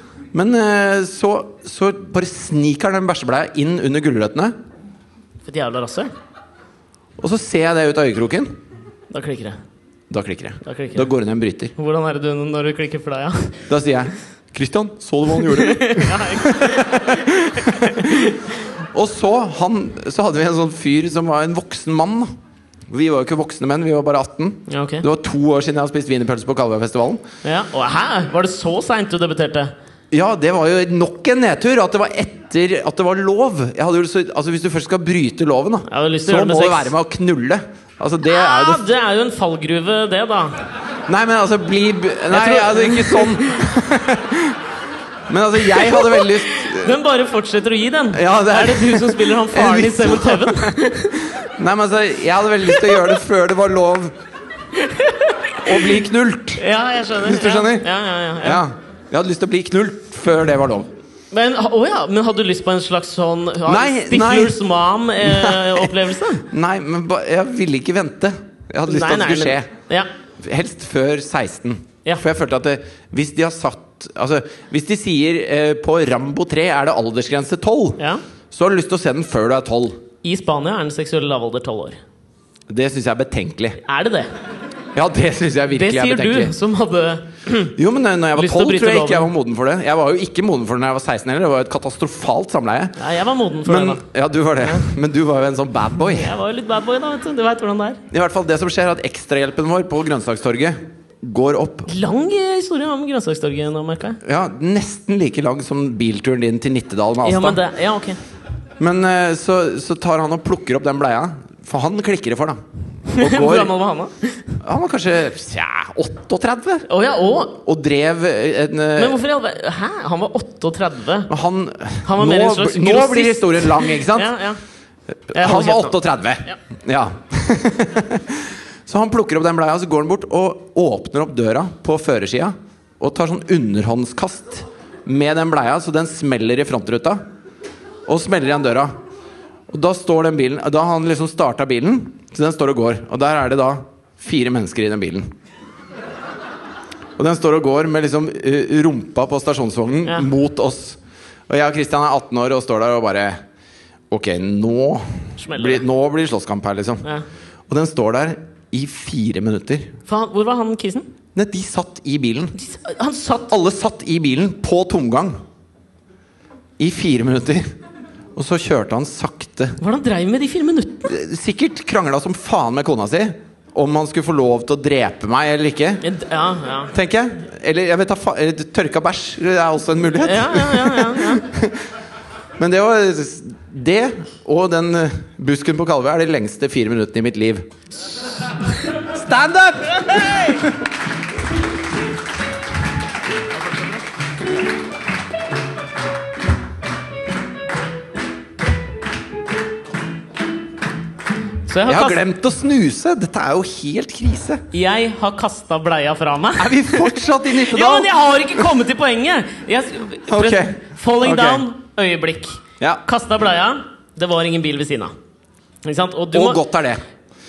Men eh, så, så bare sniker den bæsjebleia inn under gulrøttene. For et jævla rasshøl. Og så ser jeg det ut av øyekroken. Da klikker det. Da klikker jeg. Da klikker Da det. går hun i en bryter. Hvordan er det du når du klikker for deg, ja? Da sier jeg Christian, så du hva han [laughs] gjorde? og så, han, så hadde vi en sånn fyr som var en voksen mann. da. Vi var jo ikke voksne menn, vi var bare 18. Ja, ok. Det var to år siden jeg hadde spist wienerpølse på Kalvøyfestivalen. Ja. Og hæ? Var det så seint du debuterte? Ja, det var jo nok en nedtur at det var etter at det var lov. Jeg hadde jo lyst til- altså, hvis du først skal bryte loven, Jeg hadde da, lyst til å så gjøre det må med det sex. Ah! være med å knulle. Altså, det Ja, er jo det det er jo en fallgruve, det, da. Nei, men altså, bli b- Nei, tror- altså, ikke sånn. [laughs] men altså, jeg hadde veldig lyst Den bare fortsetter å gi den. Ja, det er- er... det du som spiller han faren i [laughs] En viss- Seven Heaven? [laughs] Nei, men altså, jeg hadde veldig lyst til å gjøre det før det var lov å bli knult. Ja, jeg skjønner. Hvis du skjønner. Ja, ja, ja, ja. Ja. Jeg hadde lyst til å bli knult før det var lov. Men, å ja, men hadde du lyst på en slags sånn ja, eh, Nei, Stiflers Mom-opplevelse? [laughs] Nei, men ba, jeg ville ikke vente. Jeg hadde lyst til at det skulle skje. Ja. Helst før 16. Ja. For jeg følte at det, hvis de har satt Altså, hvis de sier eh, på Rambo 3 er det aldersgrense 12, Ja. så har du lyst til å se den før du er 12. I Spania er den seksuelle lavalder tolv år. Det syns jeg er betenkelig. Er det det? Ja, det syns jeg Det virkelig er sier betenkelig. du, som hadde Jo, men eh, når jeg var Lyst til å 12, bryte tror jeg ikke jeg loven. var moden for det. Jeg var jo ikke moden for det når jeg var 16 heller. Det var jo et katastrofalt samleie. Ja, jeg var moden for det, Men, da. ja, du var det. Men du var jo en sånn bad boy. Jeg var jo litt bad boy, da. vet Du Du vet hvordan det er. I hvert fall det som skjer, er at ekstrahjelpen vår på Grønnsakstorget går opp. Lang eh, historie om grønnsakstorget nå, merker jeg. Ja, nesten like lang som bilturen din til Nittedal med Ja, men Asta. det, ja, ok. Men, eh, så, så tar han og plukker opp den bleia. For han klikker det [laughs] for, da. Og Hvor går gammel var han, da? Han var kanskje ja, 38? Å ja, å! Og drev en eh, Men hvorfor i all verden Hæ? Han var 38. men han, Han var nå, mer en slags bl- nå grossist. blir historien lang, ikke sant? [laughs] Ja, ja. Jeg Han holder var kjeft nå. 38. Ja. [laughs] så han plukker opp den bleia, så går han bort og åpner opp døra på førersida. Og tar sånn underhåndskast med den bleia, så den smeller i frontruta. Og smeller igjen døra. Og da står den bilen Da har han liksom starta bilen, så den står og går. Og der er det da fire mennesker i den bilen. Og den står og går med liksom eh, rumpa på stasjonsvognen Ja. mot oss. Og jeg og Christian er 18 år og står der og bare Ok, nå Smeller blir, det. nå blir det slåsskamp her, liksom. Ja. Og den står der i fire minutter. Faen, hvor var han kisen? Nei, de satt i bilen. Han satt Alle satt i bilen på tomgang. I fire minutter. Og så kjørte han sakte. Hva var det han dreiv med de fire minuttene? Sikkert krangla som faen med kona si om han skulle få lov til å drepe meg eller ikke. Ja, ja. Tenker jeg. Eller jeg vet da fa- eller tørka bæsj er også en mulighet. Ja, ja, ja, ja, ja. [laughs] Men det var det og den eh, busken på Kalvøy er de lengste fire minuttene i mitt liv. Stand up! Så jeg har, Jeg har kast, glemt å snuse! Dette er jo helt krise. jeg har kasta bleia fra meg. Er vi fortsatt [laughs] i Ja, men Nittedal? jeg har ikke kommet til poenget! Jeg, Ok. Falling Ok. down, øyeblikk. Ja. Kasta bleia, det var ingen bil ved siden av. Ikke sant? Og du Og må godt er det.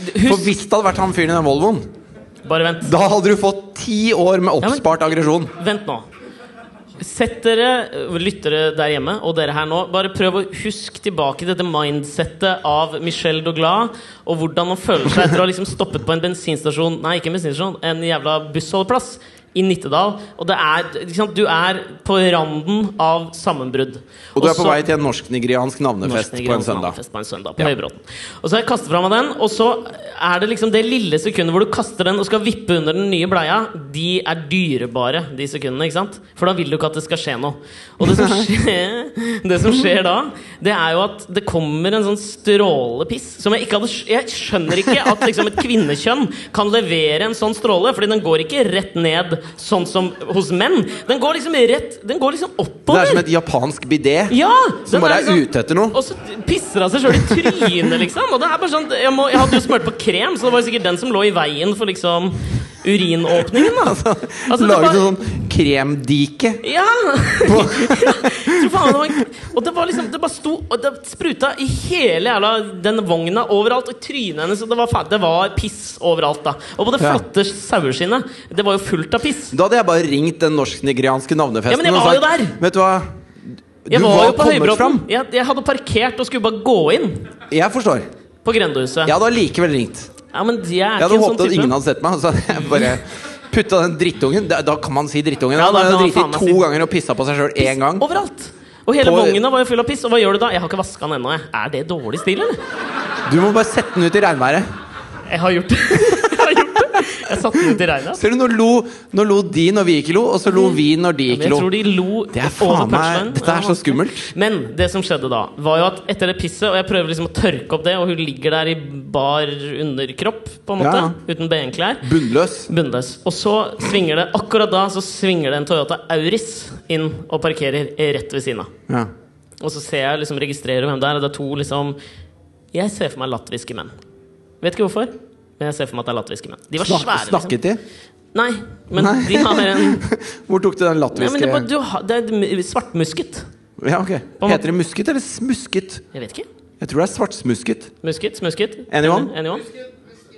For Husk hvis det hadde vært han fyren i den Volvoen, Bare vent. da hadde du fått ti år med men- oppspart aggresjon. Vent nå. Sett dere, lyttere der hjemme, og dere her nå, bare prøv å huske tilbake dette mindsettet av Michel Douglas, og hvordan han føler seg etter å ha liksom stoppet på en bensinstasjon Nei, ikke en bensinstasjon, en jævla bussholdeplass i Nittedal. Og det er, ikke sant, du er på randen av sammenbrudd. Og du er på så- vei til en norsk-nigeriansk navnefest Norsk på en Nigeriansk søndag. navnefest På en søndag på Høybråten. Og så har jeg kastet fra meg den, og så er det liksom det lille sekundet hvor du kaster den og skal vippe under den nye bleia, de er dyrebare, de sekundene. ikke sant? For da vil du ikke at det skal skje noe. Og det som skjer, [laughs] det som skjer da, det er jo at det kommer en sånn strålepiss som jeg ikke hadde skj- Jeg skjønner ikke at liksom et kvinnekjønn kan levere en sånn stråle, fordi den går ikke rett ned sånn som hos menn. Den går liksom rett Den går liksom Det oppover. er som et japansk bidé. Ja! Som den bare er liksom- ute etter noe. Og så pisser han seg sjøl i trynet, liksom. Og det er bare sånn, jeg, må, jeg hadde jo smurt på krem, så det var jo sikkert den som lå i veien for liksom [laughs] urinåpningen. da Altså, det Laget var- en sånn kremdike. Ja! [laughs] Så faen, det var, og det var liksom Det bare sto Og det spruta i hele jævla den vogna overalt. Og i trynet hennes. Og det var, faen, det var piss overalt, da. Og på det Ja. flotte saueskinnet. Det var jo fullt av piss. Da hadde jeg bare ringt den norsk-nigerianske Ja, navnefesten men jeg var jo og der. sagt Vet du hva? Du Jeg var, jo på kommet Høybråten. fram. Jeg, jeg hadde parkert og skulle bare gå inn Jeg forstår. på grendehuset. Jeg hadde allikevel ringt. Ja, men jeg er ikke Jeg hadde en håpet sånn at type. [laughs] ingen hadde sett meg. Så hadde jeg bare putta den drittungen Da, da kan man si drittungen. Ja, da han kan har man driti faen meg to si- ganger og pissa på seg sjøl én gang. Overalt! Og hele På- vogna var jo full av piss. Og hva gjør du da? Jeg har ikke vaska den ennå, jeg. Er det dårlig stil, eller? Du må bare sette den ut i regnværet. Jeg har gjort det. [laughs] Jeg har gjort det. Jeg satte den ut i regnet. Ser du, nå lo, nå lo de når vi ikke lo, og så lo vi når de Men ikke Jeg lo. tror de lo Det er over faen meg punchlinen. Dette er Ja. så skummelt. Men det som skjedde da, var jo at etter det pisset, og jeg prøver liksom å tørke opp det, og hun ligger der i bar underkropp, på en måte, Ja. uten benklær. Bunnløs. Bundes. Og så svinger det akkurat da så svinger det en Toyota Auris inn og parkerer rett ved siden av. Ja. Og så ser jeg liksom registrerer hvem det er, og det er to liksom Jeg ser for meg latviske menn. Vet ikke hvorfor, men jeg ser for meg at det er latviske menn. De var Snak, svære, liksom. snakket de? Nei, men Nei. de har en [laughs] Hvor tok du den Nei, men latviske det, er bare- du, har- det er svartmusket. Ja, ok På en Heter det musket eller smusket? Jeg vet ikke. Jeg tror det er svartsmusket. Musket, smusket. Anyone? Anyone?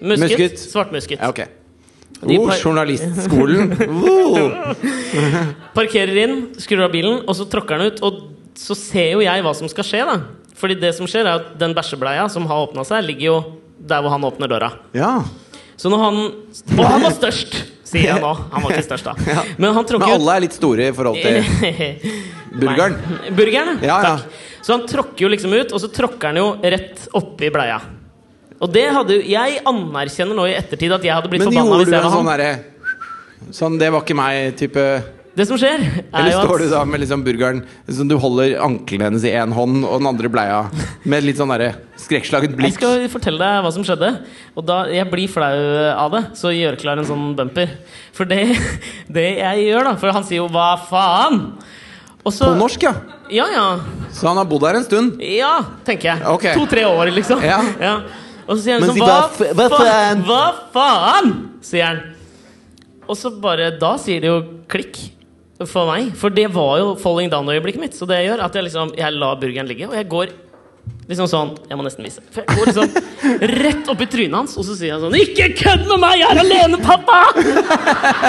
Musket, Musket. svartmusket. Ja, ok De oh, par- [laughs] Journalistskolen. Oh. Parkerer inn, skrur av bilen, og så tråkker han ut. Og så ser jo jeg hva som skal skje, da. Fordi det som skjer, er at den bæsjebleia som har åpna seg, ligger jo der hvor han åpner døra. Ja. Så når han Og han var størst, sier jeg nå. Han var ikke størst, [laughs] da. Men han Men tråkker ut alle er litt store i forhold til [laughs] burgeren. Nei, Burgeren, Ja, ja. takk. Så han tråkker jo liksom ut, og så tråkker han jo rett oppi bleia. Og det hadde jo Jeg anerkjenner nå i ettertid at jeg hadde blitt Men forbanna gjorde hvis du jeg en var sånn han. derre Sånn, det var ikke meg-type Det som skjer, er Eller jo står at du da med liksom burgeren Sånn, Du holder ankelen hennes i én hånd og den andre i bleia med litt sånn derre skrekkslaget Jeg blikk. skal fortelle deg hva som skjedde. Og da, Jeg blir flau av det, så gjør klar en sånn bumper. For det, [laughs] det jeg gjør, da For han sier jo 'hva faen'? Og så På norsk, ja. Ja, ja. Så han har bodd her en stund. Ja, tenker jeg. Ok. To-tre år, liksom. Ja. Og så sier han liksom Men si, hva, hva f- hva fa- faen?» Hva faen? sier han. Og så bare Da sier det jo klikk for meg. For det var jo falling down-øyeblikket mitt. Så det jeg gjør, at jeg liksom Jeg lar burgeren ligge, og jeg går liksom sånn Jeg må nesten vise. For jeg går liksom rett opp i trynet hans, og så sier jeg sånn Ikke kødd med meg! Jeg er alene, pappa!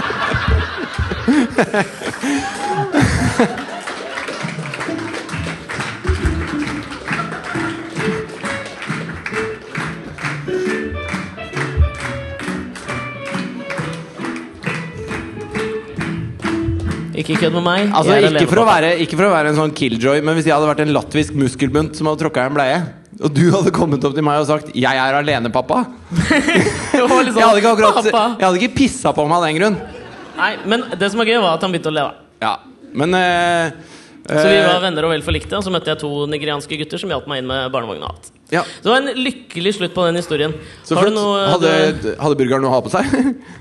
Ikke kødd med meg. Altså, jeg er ikke alene, for, å pappa. være, ikke for å være en sånn killjoy, men hvis jeg hadde vært en latvisk muskelbunt som hadde tråkka i en bleie, og du hadde kommet opp til meg og sagt 'Jeg er alene, pappa' Det var litt sånn, Jeg hadde ikke, akkurat, «Pappa!» jeg hadde ikke pissa på meg av den grunn. Nei, men det som var gøy, var at han begynte å leve. Ja, men eh, Så vi eh, var venner og vel forlikte, og så møtte jeg to nigerianske gutter som hjalp meg inn med barnevogn og alt. ja. Så det var en lykkelig slutt på den historien. Så har du flott. noe hadde, du- hadde burgeren noe å ha på seg?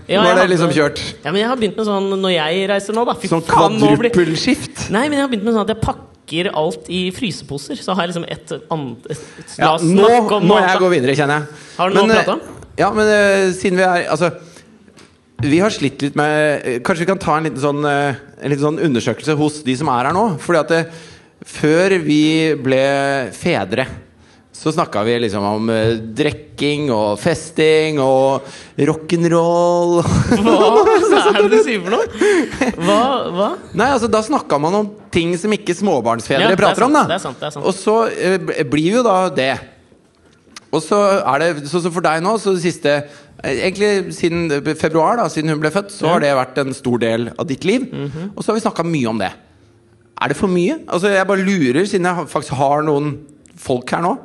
Ja, var det jeg liksom hadde- kjørt? Ja, men jeg har begynt med sånn når jeg reiser nå, da. Fy Sånn faen, nå blir- kvadrupelskift? Nei, men jeg har begynt med sånn at jeg pakker alt i fryseposer. Så har jeg liksom et annet Ja, nå må jeg gå videre. videre, kjenner jeg. Har du noe å Men, prate om? eh, Ja, men eh, siden vi er Altså, vi har slitt litt med eh, Kanskje vi kan ta en liten sånn, eh, en liten sånn undersøkelse hos de som er her nå? Fordi at eh, før vi ble fedre så snakka vi liksom om eh, drikking og festing og [laughs] rock'n'roll. [laughs] Hva er det du sier for noe? Hva? hva? Nei, altså Da snakka man om ting som ikke Ja, småbarnsfedre det er prater om. da sant, det er sant, det er sant. Og så eh, b- blir jo da det. Og så er det Sånn som for deg nå, så det siste eh, Egentlig siden eh, februar, da siden hun ble født, så har det vært en stor del av ditt liv. Mhm. Og så har vi snakka mye om det. Er det for mye? Altså Jeg bare lurer, siden jeg har- faktisk har noen folk her nå.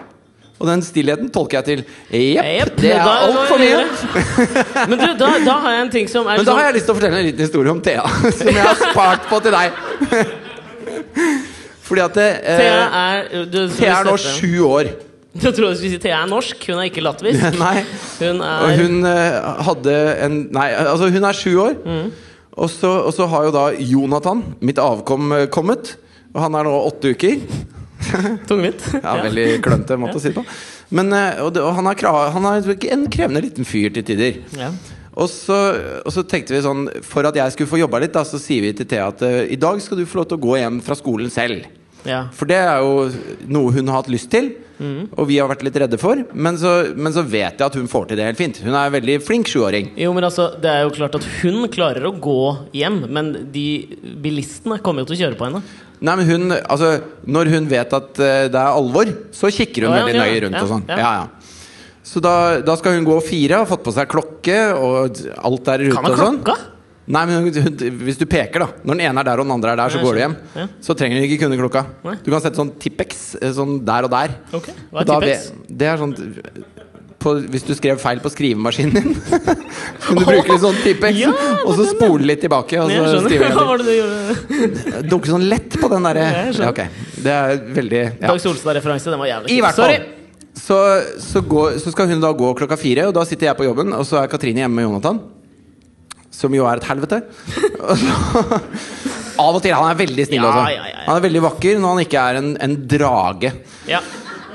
Og den stillheten tolker jeg til Jepp, Jepp, det er da- da altfor er mye. det- Men du, da, da har jeg en ting som er Men da sånn- har jeg lyst til å fortelle en liten historie om Thea, [laughs] som jeg har spart på til deg. [laughs] Fordi at eh, sånn, Thea er du, du Thea er nå setter- sju år. [laughs] Jeg trodde [laughs] du skulle si Thea er norsk. Hun er ikke latvisk. Nei. Hun er Og hun eh, hadde en Nei, altså hun er sju år. Og, så, og så har jo da Jonathan, mitt avkom, eh, kommet. Og han er nå åtte uker. tungvint. Ja, Veldig klønete måte å si det på. Men, eh, og, det, og han, er kra- han er en krevende liten fyr til tider. Ja. Og så, og så tenkte vi sånn For at jeg skulle få jobba litt, da, så sier vi til Thea at eh, i dag skal du få lov til å gå hjem fra skolen selv. Ja. For det er jo noe hun har hatt lyst til, Mm. og vi har vært litt redde for. Men så, men så vet jeg at hun får til det helt fint. Hun er en veldig flink sjuåring. Jo, men altså, Det er jo klart at hun klarer å gå hjem, men de bilistene kommer jo til å kjøre på henne. Nei, men hun, altså, når hun vet at eh, det er alvor, så kikker hun Ja, ja, veldig nøye ja, rundt ja, og sånn. ja. Ja, ja. Så da, da skal hun gå fire, har fått på seg klokke og alt der ute Kan ha og sånn. klokka! Nei, men hun- hvis du peker, da. Når den ene er der og den andre er der, så Ja, går du hjem. skjønner. Ja. Så trenger du ikke kunne klokka. Nei. Du kan sette sånn Tippex eh, sånn der og der. Ok, Hva er Da Tippex? ve- Det er sånn på, Hvis du skrev feil på skrivemaskinen din, [laughs] kunne du bruke litt sånn Tippex, Ja, og så spole litt tilbake. Og Nei, [laughs] Jeg så skrive skjønner. Hva litt. var det du gjorde? Dunke sånn lett på den derre jeg skjønner. ja, ok. Det er veldig ja. Dag Solstad-referanse. Den var jævlig I kul. hvert fall. Sorry. Så, så, går, så skal hun da gå klokka fire, og da sitter jeg på jobben, og så er Katrine hjemme med Jonathan. Som jo er et helvete. [laughs] Og så, av og til. Han er veldig snill, Ja, altså. ja, ja, ja. Han er veldig vakker når han ikke er en, en drage. Ja.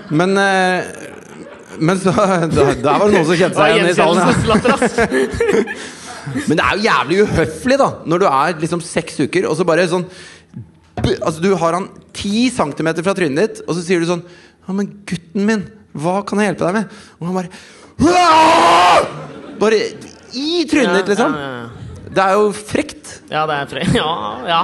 Men eh, men så [laughs] da, Der var det noen som kjente seg igjen i salen. Ja. Gjenkjennelseslatter, ass. [laughs] Men det er jo jævlig uhøflig, da, når du er liksom seks uker, og så bare sånn b- Altså, du har han ti centimeter fra trynet ditt, og så sier du sånn Ja, men gutten min, hva kan jeg hjelpe deg med? Og han bare «Aah!» Bare i trynet ditt, liksom. Ja, ja, ja. Det er jo frekt. Ja, det er fre... [laughs] Ja, ja.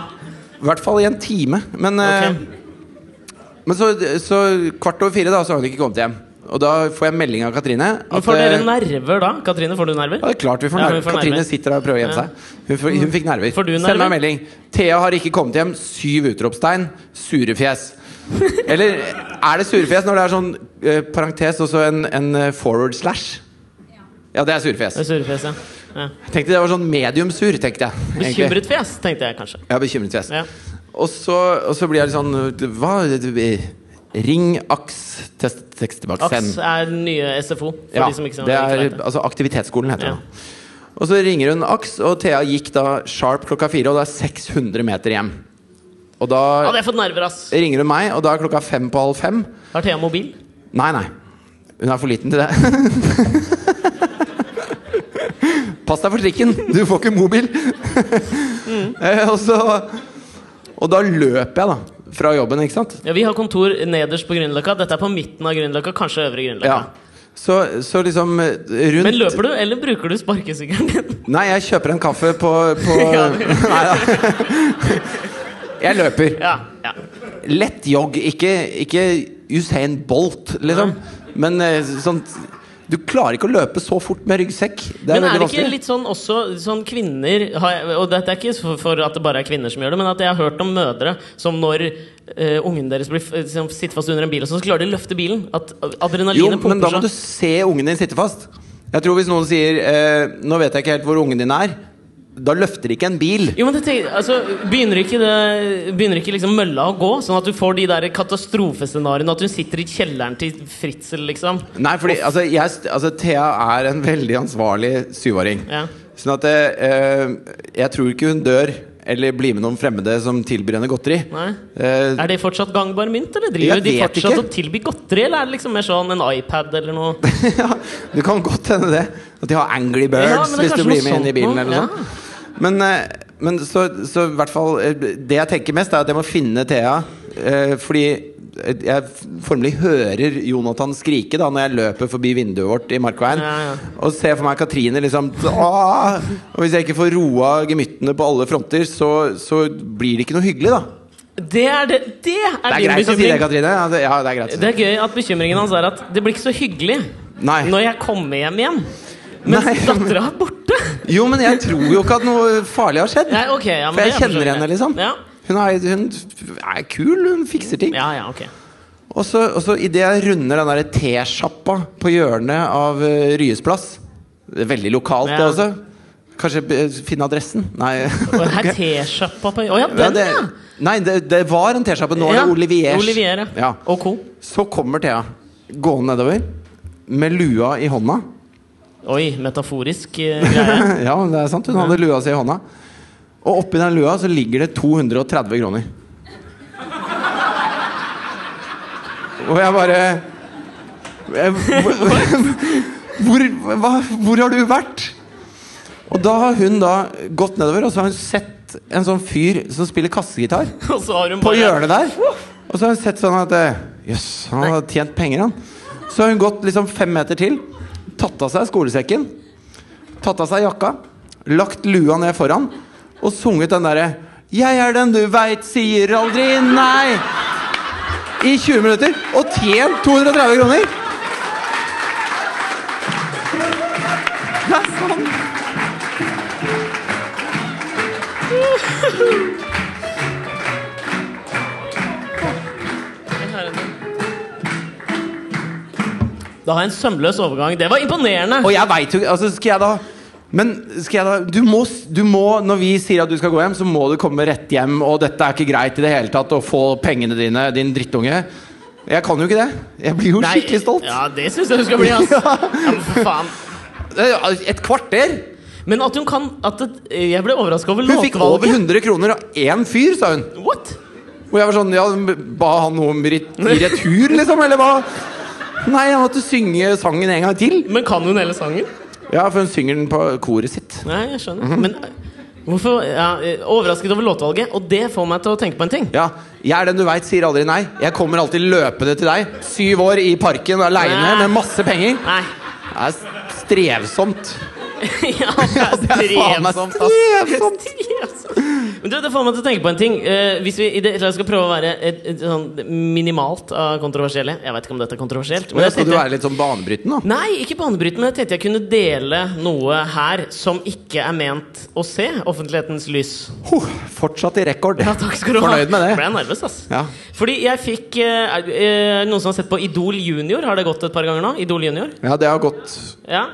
I hvert fall i en time. Men, eh, Ok. men så, så kvart over fire, da, så har hun ikke kommet hjem. Og da får jeg melding av Katrine. at, Men får dere eh, nerver da? Katrine, får du nerver? Ja, det er klart vi får Ja, nerver. hun får Katrine nerver. sitter der og prøver å gjemme Ja. seg. Hun, får, hun fikk nerver. Får du Send meg nerver? melding. Thea har ikke kommet hjem. Syv utropstegn. Surefjes. Eller er det surefjes når det er sånn eh, parentes og så en, en eh, forward slash? Ja, det er surefjes. Det er surefjes, ja. ja. Jeg tenkte det var sånn medium sur, tenkte jeg. egentlig. Bekymret fjes, tenkte jeg kanskje. Ja, bekymret fjes. Ja. Og, så, og så blir jeg litt sånn Hva? Ring aks, test, tekst tilbake, send. AKS er den nye SFO. For Ja, de som ikke det ikke er vet det. altså aktivitetsskolen heter Ja. det. Og så ringer hun Aks, og Thea gikk da sharp klokka fire, og det er 600 meter hjem. Og da Hadde jeg fått nerver, ass! ringer hun meg, og da er klokka fem på halv fem. Har Thea mobil? Nei, nei. Hun er for liten til det. [laughs] Pass deg for trikken, du får ikke mobil. Mm. Eh, og så Og da løper jeg, da. Fra jobben, ikke sant. Ja, Vi har kontor nederst på Grünerløkka. Dette er på midten av Grünerløkka, kanskje øvre Ja. Grünerløkka. Så, så liksom eh, rundt Men løper du, eller bruker du sparkesykkelen din? [laughs] Nei, jeg kjøper en kaffe på, på Ja. Nei da. [laughs] Jeg løper. Ja, ja. Lett jogg. Ikke, ikke Usain Bolt, liksom. Men eh, sånn Du klarer ikke å løpe så fort med ryggsekk. Det Men er er veldig det ikke vanskelig. litt sånn også sånn kvinner har jeg, Og dette er ikke for, for at det bare er kvinner som gjør det, men at jeg har hørt om mødre som når eh, ungen deres blir, f- som sitter fast under en bil, og så klarer de å løfte bilen. At Jo, adrenalinet men da må pumper du seg. se ungen din sitte fast. Jeg tror hvis noen sier eh, 'Nå vet jeg ikke helt hvor ungen din er', da løfter de ikke en bil. Jo, men det tenker, altså, Begynner ikke, det, begynner ikke liksom mølla å gå? Sånn at du får de der katastrofescenarioene? At hun sitter i kjelleren til Fritzel, liksom? Nei, fordi altså, jeg, st- altså Thea er en veldig ansvarlig syvåring. Ja. Sånn at eh, jeg tror ikke hun dør eller blir med noen fremmede som tilbyr henne godteri. Nei. Eh, Er det fortsatt gangbar mynt, eller Jeg driver de vet fortsatt ikke. og tilbyr godteri? Eller er det liksom mer sånn en iPad eller noe? [laughs] ja, det kan godt hende det. At de har Angry Ja, men Birds det er hvis du kanskje noe blir med inn i sånt bilen. nå, Eller noe ja. sånt. Men, eh, men så, så i hvert fall eh, Det jeg tenker mest, er at jeg må finne Thea. eh, Fordi jeg formelig hører Jonathan skrike da når jeg løper forbi vinduet vårt i Markveien. Ja, ja. Og ser for meg Katrine liksom «Åh!» Og hvis jeg ikke får roa gemyttene på alle fronter, så, så blir det ikke noe hyggelig, da. Det er, det, det er, Det er din greit å si det, bekymring. Katrine. Ja, det, ja, det er greit. å si. Det er gøy at bekymringen hans er at det blir ikke så hyggelig Nei. når jeg kommer hjem igjen. Mens Nei, [laughs] men- dattera er borte. Jo, men jeg tror jo ikke at noe farlig har skjedd. Nei, ok, ja, men For jeg det er kjenner forståelig. henne, liksom. Ja. Hun, er, hun er kul, hun fikser ting. Ja, ja, ok. Og så, og så idet jeg runder den derre T-sjappa på hjørnet av eh, Ryes plass Det er Veldig lokalt, det Ja. også. Kanskje eh, finne adressen? Nei. Og her Ok. T-sjappa på Å ja, Ja, den, det, ja! nei, det, det var en T-sjappe. Nå er Ja, det Oliviers. Olivier, ja. Ja. Og co. Så kommer Thea gående nedover med lua i hånda. Oi, metaforisk eh, greie. [laughs] ja, men det er sant. Hun hadde lua si i hånda. Og oppi den lua så ligger det 230 kroner. Og jeg bare jeg, hvor, hva, hvor har du vært? Og da har hun da gått nedover, og så har hun sett en sånn fyr som spiller kassegitar Og så har hun på bare hjørnet der. Og så har hun sett sånn at eh, Jøss, han har tjent penger, han. Så har hun gått liksom fem meter til, tatt av seg skolesekken, tatt av seg jakka, lagt lua ned foran og sunget den derre Jeg er den du veit sier aldri nei i 20 minutter og tjent 230 kroner. Det er sånn. Da har jeg en sømløs overgang. Det var imponerende! Og jeg veit jo ikke altså Skal jeg da men skal jeg da, du må, s- du må, når vi sier at du skal gå hjem, så må du komme rett hjem. Og dette er ikke greit i det hele tatt, å få pengene dine, din drittunge. Jeg kan jo ikke det. Jeg blir jo Nei, skikkelig stolt. Ja, det syns jeg du skal bli, ass. Ja. Ja, men for faen. Eh, Et kvarter! Men at hun kan at det, Jeg ble overraska over Hun fikk over låtvalget. 100 kroner av én fyr, sa hun. What? Og jeg var sånn Ja, ba han noe om rit i retur, liksom? Eller hva? Nei, han måtte synge sangen en gang til. Men kan hun hele sangen? Ja, for hun synger den på koret sitt. Nei, jeg skjønner. Mhm. Men eh, hvorfor ja, eh, Overrasket over låtvalget, og det får meg til å tenke på en ting. Ja, jeg er den du veit sier aldri nei. Jeg kommer alltid løpende til deg. Syv år i parken aleine med masse penger. Nei. [laughs] Det er strevsomt. ja, det Ja, det er er faen meg strevsomt. ass. strevsomt. Men du, det får meg til å tenke på en ting. Eh, hvis vi i det, jeg skal prøve å være et, et, sånn minimalt av kontroversielle Jeg vet ikke om dette er kontroversielt. Men jeg jeg skal du tenkte- være litt sånn banebrytende, da. Nei, ikke banebrytende. men Jeg tenkte jeg kunne dele noe her som ikke er ment å se offentlighetens lys. Huh, fortsatt i rekord. Ja, [laughs] takk skal du ha. Fornøyd med Ble det. jeg nervøs, ass. Ja. Fordi jeg fikk eh, er- eh, Noen som har sett på Idol Junior? Har det gått et par ganger nå? Idol Junior? Ja, det har gått. Ja.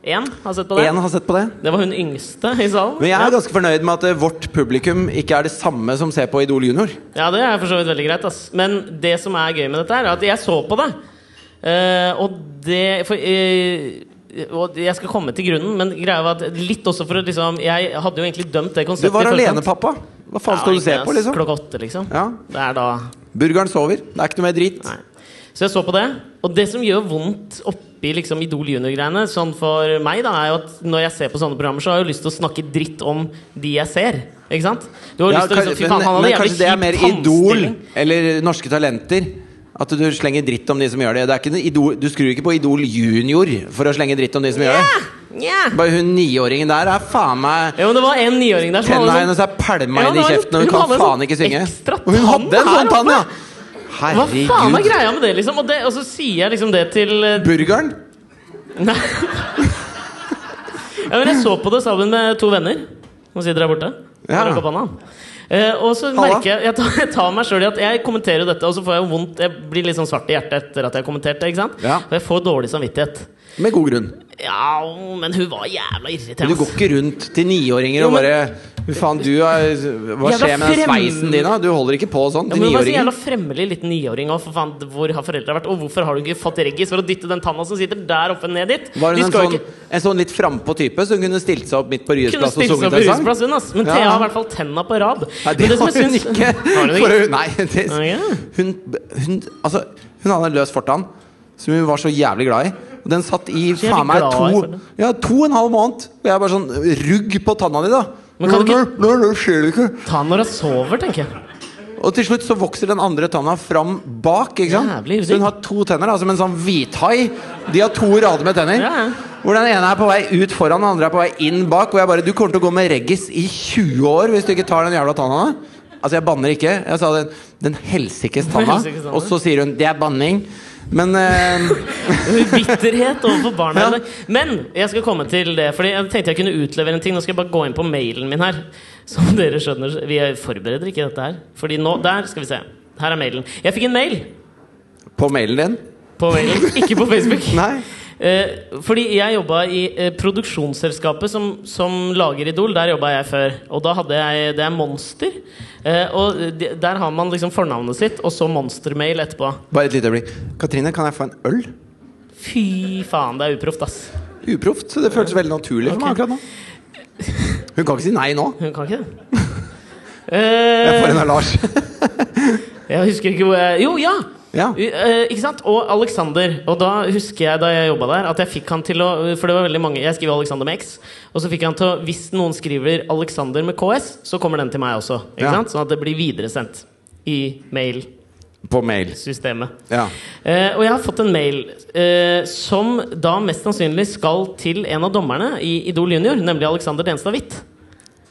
Én har sett på det? Én har sett på det. Det var hun yngste i salen. Men jeg ja. er ganske fornøyd med at eh, vårt publikum ikke er det samme som ser på Idol junior. Ja, det er for så vidt veldig greit. Ass. Men det som er gøy med dette, her, er at jeg så på det. Eh, og det for, eh, og Jeg skal komme til grunnen, men greia var at litt også for å liksom Jeg hadde jo egentlig dømt det Du konseptet. var i forkant. alene, pappa. Hva faen skal Ja, du se ikke, på, ass. liksom? Klokka åtte, liksom. Ja. Det er da Burgeren sover. Det er ikke noe mer drit. Nei. Så jeg så på det. Og det som gjør vondt oppi liksom Idol Junior-greiene, sånn for meg, da, er jo at når jeg ser på sånne programmer, så har jeg jo lyst til å snakke dritt om de jeg ser. Ikke sant? Du har Ja, lyst til å kan- liksom, Fy faen, han men, hadde men jævlig kanskje det er mer kjip Idol tannstilling. eller Norske Talenter. At du slenger dritt om de som gjør det. det er ikke noe idol, du skrur ikke på Idol junior for å slenge dritt om de som gjør det. Ja, ja. Bare hun niåringen der er faen meg Jo, men det var en niåring der som Tenna hadde hennes er pælma sånn- Ja, inn i det var- kjeften, og hun hun kan hadde en faen sånn ikke synge. ekstra Og hun hadde en tann sånn tann, her ja! oppe. Hva faen er Herregud. greia med det, liksom? Og, det, og så sier jeg liksom det til eh, Burgeren? [laughs] Nei. Ja, men jeg så på det sammen med to venner. Nå sitter jeg borte. Ja. Ja. Eh, og så Halla. merker jeg Jeg tar, [laughs] jeg tar meg selv i at jeg kommenterer jo dette, og så får jeg jo vondt Jeg blir litt sånn svart i hjertet etter at jeg har kommentert det. ikke sant? Ja. Og jeg får dårlig samvittighet. Med god grunn. Ja, men hun var jævla Men irriterende. du går ikke rundt til niåringer Jo, og men- bare Fy faen, du er Hva Jævla skjer med den frem- sveisen din, da? Du holder ikke på sånn Ja, til men hun var så niåringer. jævla fremmelig liten niåring òg. Hvor har foreldra vært? Og hvorfor har du ikke fått reggis for å dytte den tanna som sitter der oppe, ned dit? Var De hun en skal jo sånn, en sånn litt frampå type som kunne stilt seg opp midt på kunne Ryesplass og stille seg sunget på en sang? rusplass, hun, ass. Men Ja. Thea har i hvert fall tenna på rad. Nei, Men det som har jeg hun syns- ikke. Har hun For ikke? hun, nei, det, Har hun ikke? hun, hun, altså, hun hadde en løs fortann som hun var så jævlig glad i. Og den satt i faen meg glad i to, fortann. ja, to og en halv måned. Og jeg bare sånn Rugg på tanna di, da! Men kan du ikke- Nei, nei, det skjer jo ikke. Ta når hun sover, tenker jeg. Og til slutt så vokser den andre tanna fram bak. Ikke sant? Jævlig rygg. Så hun har to tenner, da, som en sånn hvithai. De har to rader med tenner. Ja. Hvor den ene er på vei ut foran, den andre er på vei inn bak. Hvor jeg bare Du kommer til å gå med reggis i 20 år hvis du ikke tar den jævla tanna. da." Altså, jeg banner ikke. Jeg sa den, den helsikes tanna. Helsikes tanna. Og så sier hun 'det er banning'. Men eh, Bitterhet overfor barna. Ja. i dag. Men jeg skal komme til det. Fordi jeg tenkte jeg kunne utlevere en ting. Nå skal jeg bare gå inn på mailen min her. Som [laughs] dere skjønner, vi forbereder ikke dette her. Fordi nå, der skal vi se. Her er mailen. Jeg fikk en mail På mailen din? på mailen, ikke på Facebook. [laughs] Nei. Eh, fordi jeg jobba i eh, produksjonsselskapet som, som lager Idol. Der jobba jeg før. Og da hadde jeg Det er Monster. Eh, og de, der har man liksom fornavnet sitt, og så Monster-mail etterpå. Bare et lite øyeblikk. Katrine, kan jeg få en øl? Fy faen, det er uproft, ass. Uproft. så Det føltes veldig naturlig for meg akkurat nå. Hun kan ikke si nei nå. Hun kan ikke det. [laughs] Jeg Eh, får en av Lars. jeg husker ikke hvor jeg Jo, ja! [laughs] Ja. U- eh, ikke sant? Og Alexander. Og da husker jeg da jeg jobba der, at jeg fikk han til å For det var veldig mange Jeg skriver Alexander med X. Og så fikk jeg han til å Hvis noen skriver Alexander med KS, så kommer den til meg også. Ikke Ja. sant? Sånn at det blir videresendt i mailsystemet. På mail. Ja. Eh, og jeg har fått en mail eh, som da mest sannsynlig skal til en av dommerne i Idol Junior, nemlig Alexander Denstad Hvitt.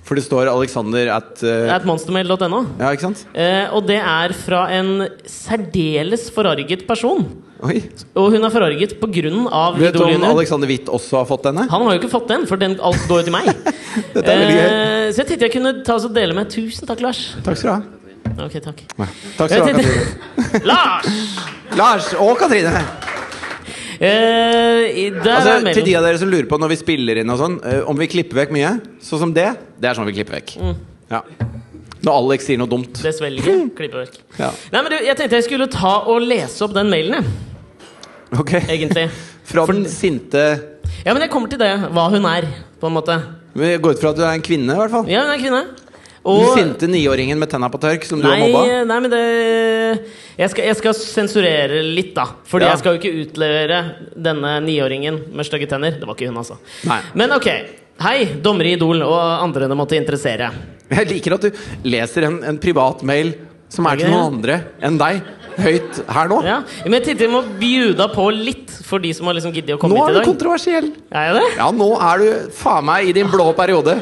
For det står Alexander at eh, At monstermail.no. Ja, ikke sant? Eh, og det er fra en særdeles forarget person. Oi. Og hun er forarget på grunn av Vet du Idol om Junior. Alexander Witt også har fått denne? Han har jo ikke fått den, for den, alt går jo til meg. [laughs] Dette er veldig gøy. Eh, så jeg tenkte jeg kunne ta oss og dele med. Tusen takk, Lars. Takk skal du ha. Ok, takk. Nei. Takk skal du Jeg ha, Katrine. tenkte- Lars! Lars og Katrine! Eh, i- der Altså, er mailen. til de av dere som lurer på når vi spiller inn og sånn, eh, om vi klipper vekk mye, sånn som det, det er sånn vi klipper vekk. Mm. Ja. Når Alex sier noe dumt. Det svelger. Klippeverk. Ja. Nei, men du, jeg tenkte jeg skulle ta og lese opp den mailen, jeg. Ok. Egentlig. Fra den sinte Ja, men jeg kommer til det. Hva hun er, på en måte. Vi går ut fra at du er en kvinne, i hvert fall. Ja, hun er kvinne. Den sinte niåringen med tenna på tørk som du har nei, mobba. nei, men det jeg skal, jeg skal sensurere litt, da. Fordi Ja. jeg skal jo ikke utlevere denne niåringen med stygge tenner. Det var ikke hun, altså. Nei. Men ok. Hei, dommere i Idol og andre det måtte interessere. Jeg liker at du leser en, en privat mail som er til Ok. noen andre enn deg, høyt her nå. Ja. Men jeg tenkte jeg må bjuda på litt for de som har liksom giddet å komme Nå hit er i du dag. kontroversiell! Er jeg det? Ja, nå er du faen meg i din blå periode.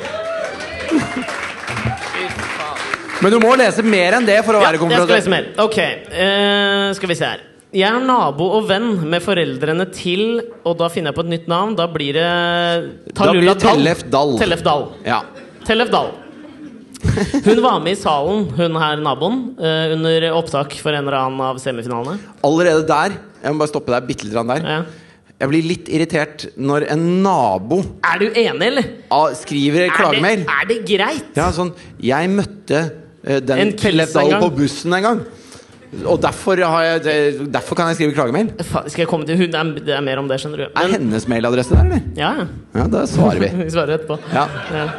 Men du må lese mer enn det for å jeg være skal lese kontroversiell. mer. Ok, eh, skal vi se her. Jeg er nabo og venn med foreldrene til Og da finner jeg på et nytt navn. Da blir det Da blir det Tallulah Dahl. Tellef Dahl. Tellef Dahl. Ja. Tellef Dahl. Hun var med i salen, hun her naboen, eh, under opptak for en eller annen av semifinalene. Allerede der Jeg må bare stoppe deg bitte litt grann der. Ja. Jeg blir litt irritert når en nabo Er du enig, eller? ah, skriver Er klagemail. det, er det greit? Ja, sånn Jeg møtte eh, den En en kiss Tellef en Dahl gang. på bussen en gang. Og derfor, har jeg, det- derfor kan jeg skrive klagemail. Fa- Skal jeg komme til hun? Det er, det er mer om det, skjønner du. Er hennes mailadresse der, eller? ja, ja. Ja, da svarer vi. Vi svarer etterpå. Ja, Ja.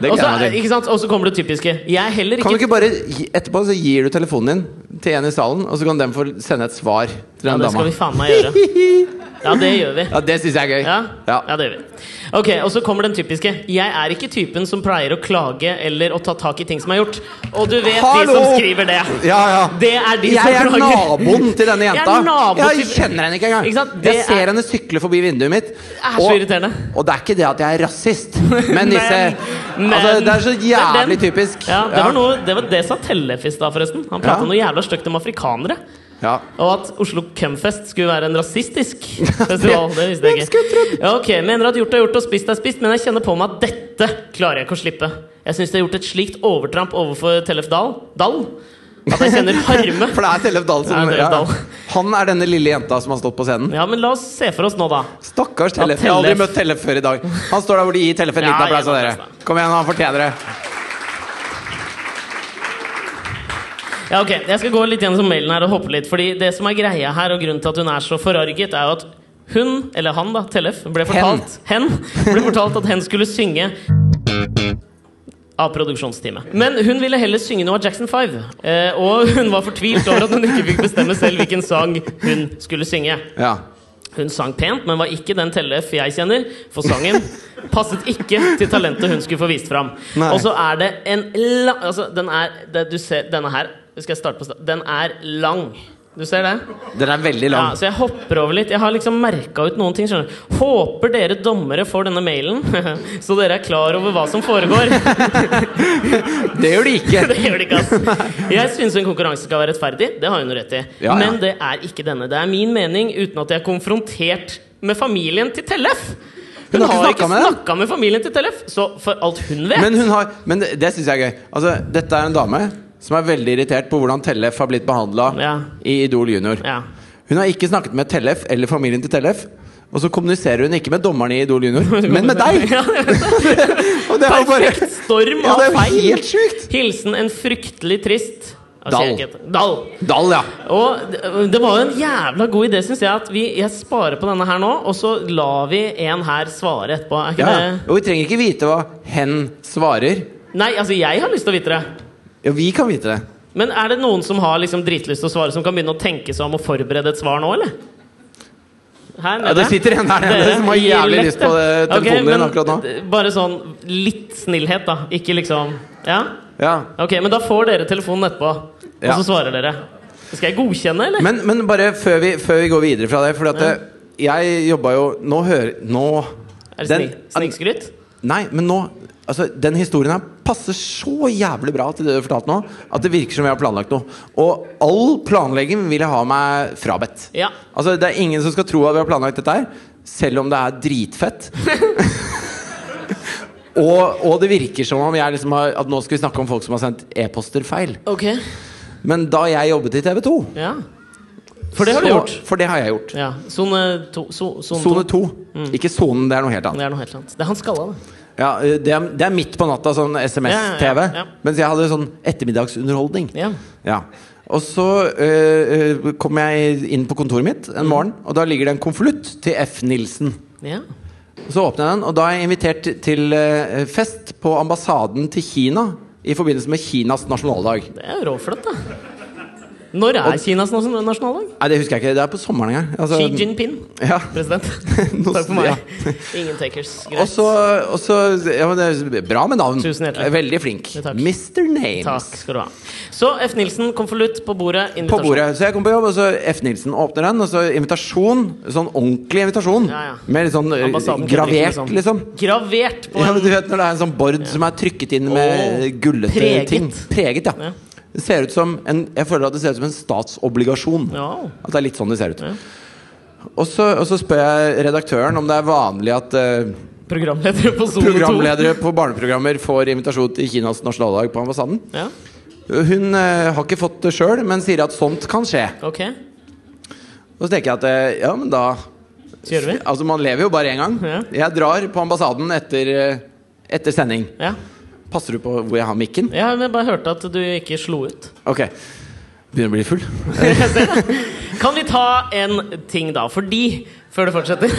det Og så- gleder jeg meg til. ikke sant? Og så kommer det typiske. Jeg er heller Kan du ikke ikke bare gi- Etterpå så gir du telefonen din til en i salen, og så kan den få sende et svar til Ja, den det skal dama. vi faen meg [laughs] gjøre. Ja, det gjør vi. Ja, det syns jeg er gøy. Ja? Ja. ja, det gjør vi. Ok, Og så kommer den typiske. Jeg er ikke typen som pleier å klage eller å ta tak i ting som er gjort. Og du vet de som Hallo! skriver det. Ja, ja. Det er de Jeg som er klager. naboen til denne Jeg er jenta. nabo Jeg til- kjenner henne ikke engang. Ikke sant? Det Jeg ser er- henne sykle forbi vinduet mitt. er så irriterende. og det er ikke det at jeg er rasist, [laughs] men Men- disse men- altså, Det er så Det er den. jævlig typisk. Ja, det, Ja. var noe, det var det sa Tellef i stad, forresten. Han prata Ja. noe jævla stygt om afrikanere. [laughs] Ja. Og at Oslo Cumfest skulle være en [laughs] rasistisk festival. Det visste jeg hvem ikke. skulle trodd? Ja, ok, Mener at gjort er gjort og spist er spist, men jeg kjenner på meg at dette klarer jeg ikke å slippe. Jeg syns det er gjort et slikt overtramp overfor Tellef Dahl, Dahl at jeg kjenner harme. [laughs] For det er Tellef Dahl som Ja, Tellef Dahl. Han er denne lille jenta som har stått på scenen. Ja, men la oss se for oss nå, da. Stakkars Ja, Tellef. Jeg har aldri Tellef. møtt Tellef før i dag. Han står der hvor de gir Tellef en Ja, liten applaus jeg av er dere. applaus, Kom igjen, han fortjener det. Ja, ok, Jeg skal gå litt gjennom mailen her og hoppe litt. Fordi det som er greia her, og grunnen til at hun er så forarget, er jo at hun, eller han da, Tellef, ble fortalt hen. ble fortalt at hen skulle synge av produksjonsteamet. Men hun ville heller synge noe av Jackson 5. Eh, og hun var fortvilt over at hun ikke fikk bestemme selv hvilken sang hun skulle synge. Ja. Hun sang pent, men var ikke den Tellef jeg kjenner, for [laughs] sangen passet ikke til talentet hun skulle få vist fram. Nei. Og så er det en lang altså, den er, det, du ser, Denne her skal jeg starte på sta- Den er lang. Du ser det? Den er veldig Ja, lang. så jeg hopper over litt. Jeg har liksom merka ut noen ting. skjønner du Håper dere dommere får denne mailen, [laughs] så dere er klar over hva som foregår. Det gjør de ikke. [laughs] Det gjør det ikke, ass. Jeg syns en konkurranse skal være rettferdig. Det har hun rett i. Ja, ja. Men det er ikke denne. Det er min mening uten at jeg er konfrontert med familien til Tellef. Hun, Hun har ikke har ikke snakket med dem. snakka med familien til Tellef, så for alt hun vet Men, hun har, men det, det syns jeg er gøy. Altså, dette er en dame som er veldig irritert på hvordan Tellef har blitt behandla Ja. i Idol junior. ja. Hun har ikke snakket med Tellef eller familien til Tellef. Og så kommuniserer hun ikke med dommerne i [laughs] Idol junior, men med deg! [laughs] Ja, det er Og det er jo bare Perfekt storm Ja, av det er jo feil. helt sjukt! Hilsen en fryktelig trist Hva sier jeg ikke? Dal. Dahl, ja. Og det- det var jo en jævla god idé, syns jeg. At vi, jeg sparer på denne her nå, og så lar vi en her svare etterpå. Er ikke ja. ja. det Og vi trenger ikke vite hva hen svarer. Nei, altså, jeg har lyst til å vite det. Jo, vi kan vite det. Men er det noen som har liksom dritlyst til å svare, som kan begynne å tenke seg om og forberede et svar nå, eller? Her Ja, det sitter en der nede Dere som har gir jævlig lett, lyst på eh, ja. Ok, telefonen din men akkurat nå. d- Bare sånn litt snillhet, da. Ikke liksom Ja? Ja. Ok, men da får dere telefonen etterpå, og Ja. så svarer dere. Skal jeg godkjenne, eller? Men, men bare før vi, før vi går videre fra det, fordi at eh, jeg jobba jo Nå hører Nå er det den- snik- snikskryt? Nei, men nå Altså, Den historien her passer så jævlig bra til det du fortalte nå, at det virker som jeg har planlagt noe. Og all planlegging vil jeg ha meg frabedt. Ja. Altså, Det er ingen som skal tro at vi har planlagt dette her, selv om det er [laughs] dritfett. og, og det virker som om jeg liksom har, at nå skal vi snakke om folk som har sendt e-poster feil. Ok. Men da jeg jobbet i TV 2 Ja. For det har du så- gjort. For det har jeg gjort. Ja. Sone to. so- Sone Sone to. Mm. to. Ikke sonen, det er noe helt annet. Det er noe helt annet. Det er han skalla, det. Ja, eh, det, er, det er midt på natta, sånn Ja, SMS-TV. ja, ja. Mens jeg hadde sånn ettermiddagsunderholdning. Ja. Ja. Og så eh, eh, kom jeg inn på kontoret mitt Mm. en morgen, og da ligger det en konvolutt til F. Nilsen. ja. Og Så åpner jeg den, og da er jeg invitert til eh, fest på ambassaden til Kina i forbindelse med Kinas nasjonaldag. Det er jo råflott, da. Når er Kinas nas- nasjonaldag? Nei, det husker jeg ikke. Det er på sommeren engang. Xi Altså, Jinping, ja. president. [laughs] Nå- Takk for meg. ja. [laughs] Ingen takers. Og Greit. så og så- ja, men det er Bra med navn. Tusen hjertelig. Veldig flink. Ja, takk. Mr. Names. Takk skal du ha. Så F. Nilsen, konvolutt på bordet. På Invitasjon. bordet. Så jeg kom på jobb, og så F. Nilsen åpner den. Og så invitasjon. Sånn ordentlig invitasjon. Ja, ja. Med litt sånn eh, Ambassaden kødder ikke med gravert, sånn. liksom. Gravert på Ja, en men du vet når det er en sånn bord som er trykket inn med Åh, eh, gullete preget. ting. Preget, ja. Ja. Det ser ut som en, jeg føler at det ser ut som en statsobligasjon. Ja. At det er litt sånn det ser ut. Og, så, og så spør jeg redaktøren om det er vanlig at eh, programleder på Sone 2. programledere på barneprogrammer får invitasjon til Kinas nasjonaldag på ambassaden. Ja, Hun eh, har ikke fått det sjøl, men sier at sånt kan skje. ok. Og så tenker jeg at eh, ja, men da Så gjør vi. Altså, man lever jo bare én gang. Ja. Jeg drar på ambassaden etter, eh, etter sending. Ja. Passer du på hvor jeg har mikken? ja, men jeg bare hørte at du ikke slo ut. Ok. Begynner å bli full. Jeg ser det. [laughs] Kan vi ta en ting, da? Fordi Før det fortsetter.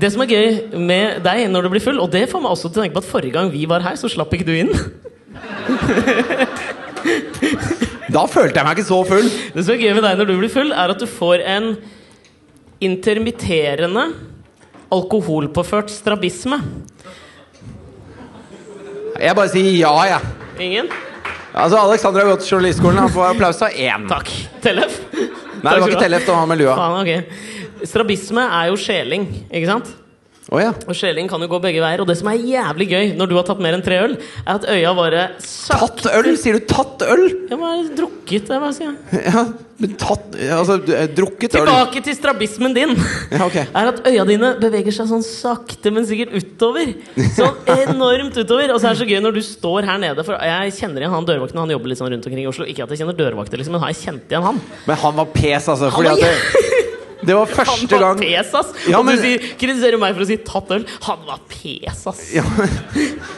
Det som er gøy med deg når du blir full, og det får meg også til å tenke på at forrige gang vi var her, så slapp ikke du inn. Da følte jeg meg ikke så full. Det som er gøy med deg når du blir full, er at du får en intermitterende alkoholpåført strabisme. Jeg bare sier ja, jeg. Ingen? Altså, Alexander har gått til journalistskolen. Han får applaus av én. Nei, Takk. Tellef? det var ikke Tellef, det var han med lua. Faen, ok. Strabisme er jo skjeling, ikke sant? Å ja. Og skjeling kan jo gå begge veier. Og det som er jævlig gøy når du har tatt mer enn tre øl, er at øya bare sakte Tatt øl? Sier du tatt øl? [laughs] Jeg var drukket, jeg bare sier. Ja, men tatt Altså, du- eh, drukket øl. Tilbake til strabismen din. [laughs] Ja, ok. Er at øya dine beveger seg sånn sakte, men sikkert utover. [laughs] Sånn enormt utover. Og så er det så gøy når du står her nede, for jeg kjenner igjen han dørvakten. Han jobber litt sånn rundt omkring i Oslo. Ikke at jeg kjenner dørvakter, liksom, men har jeg kjent igjen han? Men han var pes, altså. Han Fordi var at det, [laughs] det var Han første var gang pes, ass! Ja, Og men- du sier, kritiserer meg for å si 'tatt øl'. Han var pes, ass! Ja, men-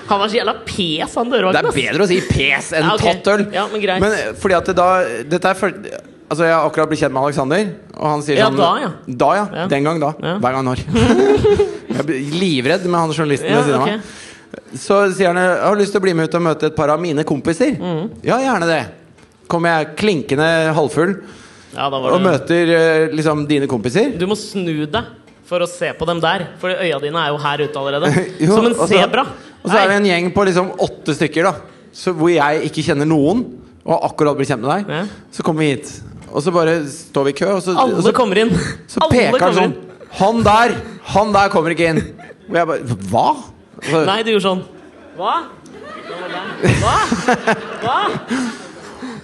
Han var så jævla pes, han dørvakten. Det er ass. bedre å si pes enn Ja, ok. tatt øl. Ja, men greit. eh, fordi at det da Dette er for, Altså, jeg har akkurat blitt kjent med Alexander, og han sier Ja, sånn da, ja. Da, ja. Ja. Den gang, da. Ja. [laughs] Hver gang når. jeg blir livredd med han journalisten ved Ja, siden av ok. meg. Så sier han jeg har lyst til å bli med ut og møte et par av mine kompiser. Mm. Ja, gjerne det. Kommer jeg klinkende halvfull Ja, da og var det. møter eh, liksom dine kompiser. Du må snu deg for å se på dem der. For øya dine er jo her ute allerede. [laughs] Jo, Som en og så- sebra. Og så er vi en gjeng på liksom åtte stykker, da. Så hvor jeg ikke kjenner noen, og har akkurat blitt kjent med deg. Ja. Så kommer vi hit. Og så bare står vi i kø, og så, og Alle så, kommer inn. så Alle peker han kommer sånn. inn. Han der! Han der kommer ikke inn! Og jeg bare Hva? Og Så, Nei, du gjorde sånn. Hva? Hva? Hva?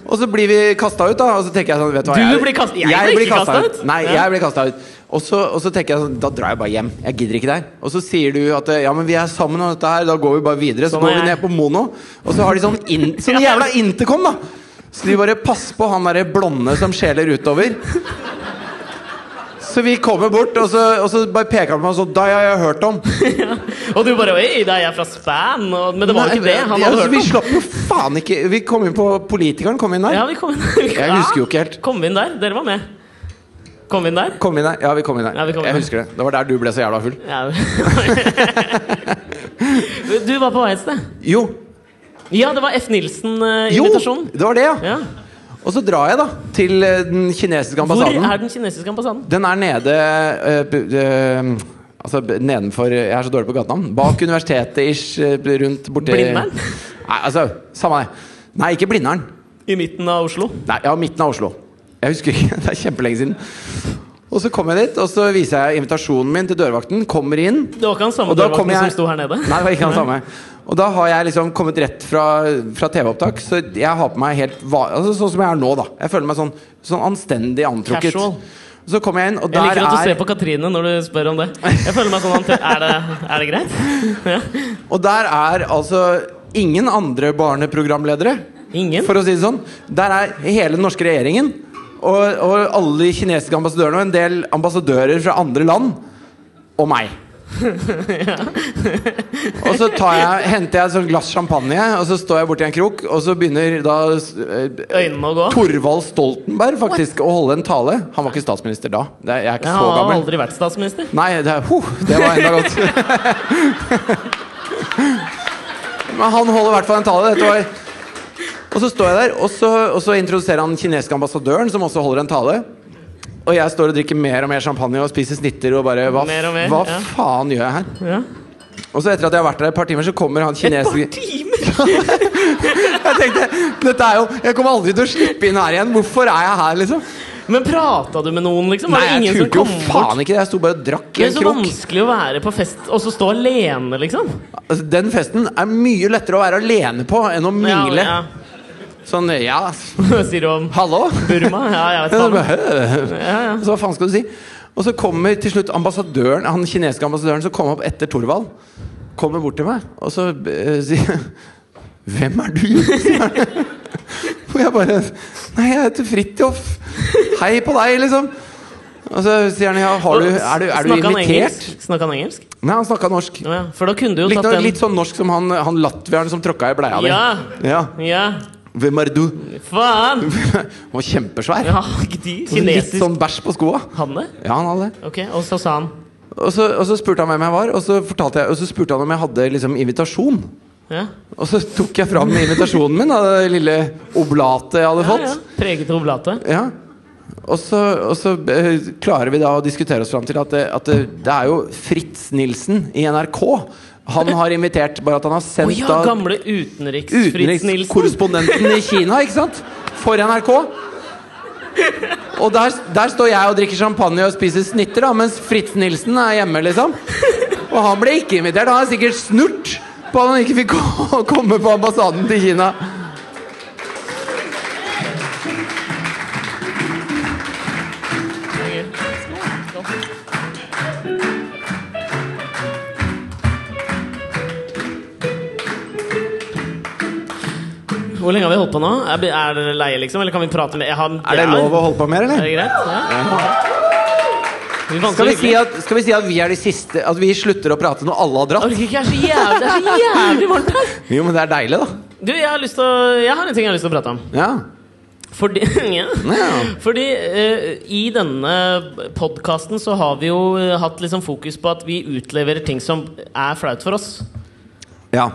og så blir vi kasta ut, da. Og så tenker jeg sånn, vet du hva Du blir kast- jeg blir ikke kastet kastet ut. Nei, Ja. jeg blir kasta ut. Og så, og så tenker jeg sånn, da drar jeg bare hjem. Jeg gidder ikke det her. Og så sier du at ja, men vi er sammen om dette her, da går vi bare videre. Så Sånn er går vi jeg. ned på Mono, og så har de sånn, [laughs] in, sånn Ja. jævla intercom, da! Så de bare passer på han derre blonde som skjeler utover. Så vi kommer bort, og så, og så bare peker han på meg sånn, da har jeg hørt om. Og du bare Oi, det er jeg fra Span. Og, men det var jo ikke Nei, det. Han ja, hadde altså, hørt Vi om. slapp jo faen ikke Vi kom inn på Politikeren kom inn der. Ja, vi kom inn. [laughs] vi kom- Jeg husker jo ikke helt. Ja, Kom vi inn der? Dere var med. Kom vi inn der? Kom inn her. Ja, vi kom inn her. Ja, vi kom jeg inn. husker det. Det var der du ble så jævla full. Ja. [laughs] Du var på vei et sted. Jo, Ja, det var F. jo Nilsen-invitasjonen. det var det, ja. Ja. Og så drar jeg da til eh, den kinesiske Hvor ambassaden. er den kinesiske ambassaden? Den er nede eh, b- eh, Altså b- nedenfor Jeg er så dårlig på gatenavn. Bak universitetet ish, eh, rundt borti Blindern? Nei, altså, samme det. Nei, ikke Blindern. I midten av Oslo? [laughs] Nei, ja, midten av Oslo. Jeg husker ikke. Det er kjempelenge siden. Og så kom jeg dit, og så viser jeg invitasjonen min til dørvakten. Kommer inn. Det var ikke han samme Og da kom dørvakten jeg- som sto her nede? Nei, det var ikke han samme. Og da har jeg liksom kommet rett fra, fra TV-opptak, så jeg har på meg helt va altså, sånn som jeg er nå, da. Jeg føler meg sånn, sånn anstendig antrukket. Casual. Så kommer jeg inn, og der Jeg liker at du er ser på Katrine når du spør om det. Jeg føler meg sånn han te- Er det, er det greit? Ja. Og der er altså ingen andre barneprogramledere, Ingen? for å si det sånn. Der er hele den norske regjeringen og, og alle de kinesiske ambassadørene og en del ambassadører fra andre land og meg. og så tar jeg, henter jeg et sånt glass champagne, og så står jeg borti en krok, og så begynner da eh, Øynene å gå? Torvald Stoltenberg faktisk å holde en tale. Han var ikke statsminister da. Det er, jeg er ikke Ja, så Han har gammel. aldri vært statsminister. Nei, det, er- huh, det var enda godt. Men han holder i hvert fall en tale. Dette var og så står jeg der, og så, og så introduserer han den kinesiske ambassadøren, som også holder en tale. Og jeg står og drikker mer og mer champagne og spiser snitter og bare Hva, Mer og mer, hva ja. faen gjør jeg her? Ja. Og så etter at jeg har vært der et par timer, så kommer han Et par kinesiske timer! [laughs] Jeg tenkte, dette er jo Jeg kommer aldri til å slippe inn her igjen. Hvorfor er jeg her, liksom? Men prata du med noen, liksom? Nei, Var det jeg ingen som turte jo kom bort? faen ikke det. Jeg sto bare og drakk Det i er en så krok. vanskelig å være på fest og så stå alene, liksom. Altså, den festen er mye lettere å være alene på enn å Ja, mingle. ja. Sånn ja, Sier du om hallo? Burma? Ja, jeg vet Så [laughs] faen. bare, «Hø». Så hva faen skal du si? Og så kommer til slutt ambassadøren han kinesiske ambassadøren som kom opp etter Thorvald, kommer bort til meg og så eh, sier Hvem er du? [laughs] sier han. Og jeg bare Nei, jeg heter Fridtjof. Hei på deg, liksom. Og så sier han ja, har du, er du, er du Snakka han invitert? engelsk? Snakka han engelsk? Nei, han snakka norsk. Ja, for da kunne du jo Litt, tatt den. litt sånn norsk som han, han latvieren som tråkka i bleia di. Ja. Ja. Ja, Hvem er du? [laughs] faen! Han var kjempesvær. Ja, de Litt kinesisk sånn bæsj på skoa. Han det? Ja, han hadde det. Ok, og så sa han Og så, og så spurte han hvem jeg var, og så, fortalte jeg, og så spurte han om jeg hadde liksom, invitasjon. Ja, Og så tok jeg fram invitasjonen min, da, det lille oblatet jeg hadde ja, ja. fått. Preget oblate. Ja. Og så, og så eh, klarer vi da å diskutere oss fram til at, det, at det, det er jo Fritz Nilsen i NRK. Han har invitert, bare at han har Å sendt ja, da gamle utenriks-Fritz Nilsen. utenrikskorrespondenten i Kina, ikke sant? For NRK. Og der, der står jeg og drikker champagne og spiser snitter, da, mens Fritz Nilsen er hjemme, liksom. Og han ble ikke invitert. Han er sikkert snurt på at han ikke fikk [laughs] ko- komme på ambassaden til Kina. Hvor lenge har vi holdt på nå? Er, er dere leie, liksom? Eller kan vi prate med jeg har, Er det lov å holde på mer, Er eller? det greit? Ja. Vi vant Skal vi, så si hyggelig. at, skal vi si at vi er de siste At vi slutter å prate når alle har dratt? Orker ikke, jeg er så jævlig, det er så jævlig varmt her! Jo, men det er deilig, da. Du, jeg har, lyst til å, jeg har en ting jeg har lyst til å prate om. Ja. Fordi, [laughs] ja. Ja. Fordi eh, i denne podkasten så har vi jo eh, hatt liksom fokus på at vi utleverer ting som er flaut for oss. ja.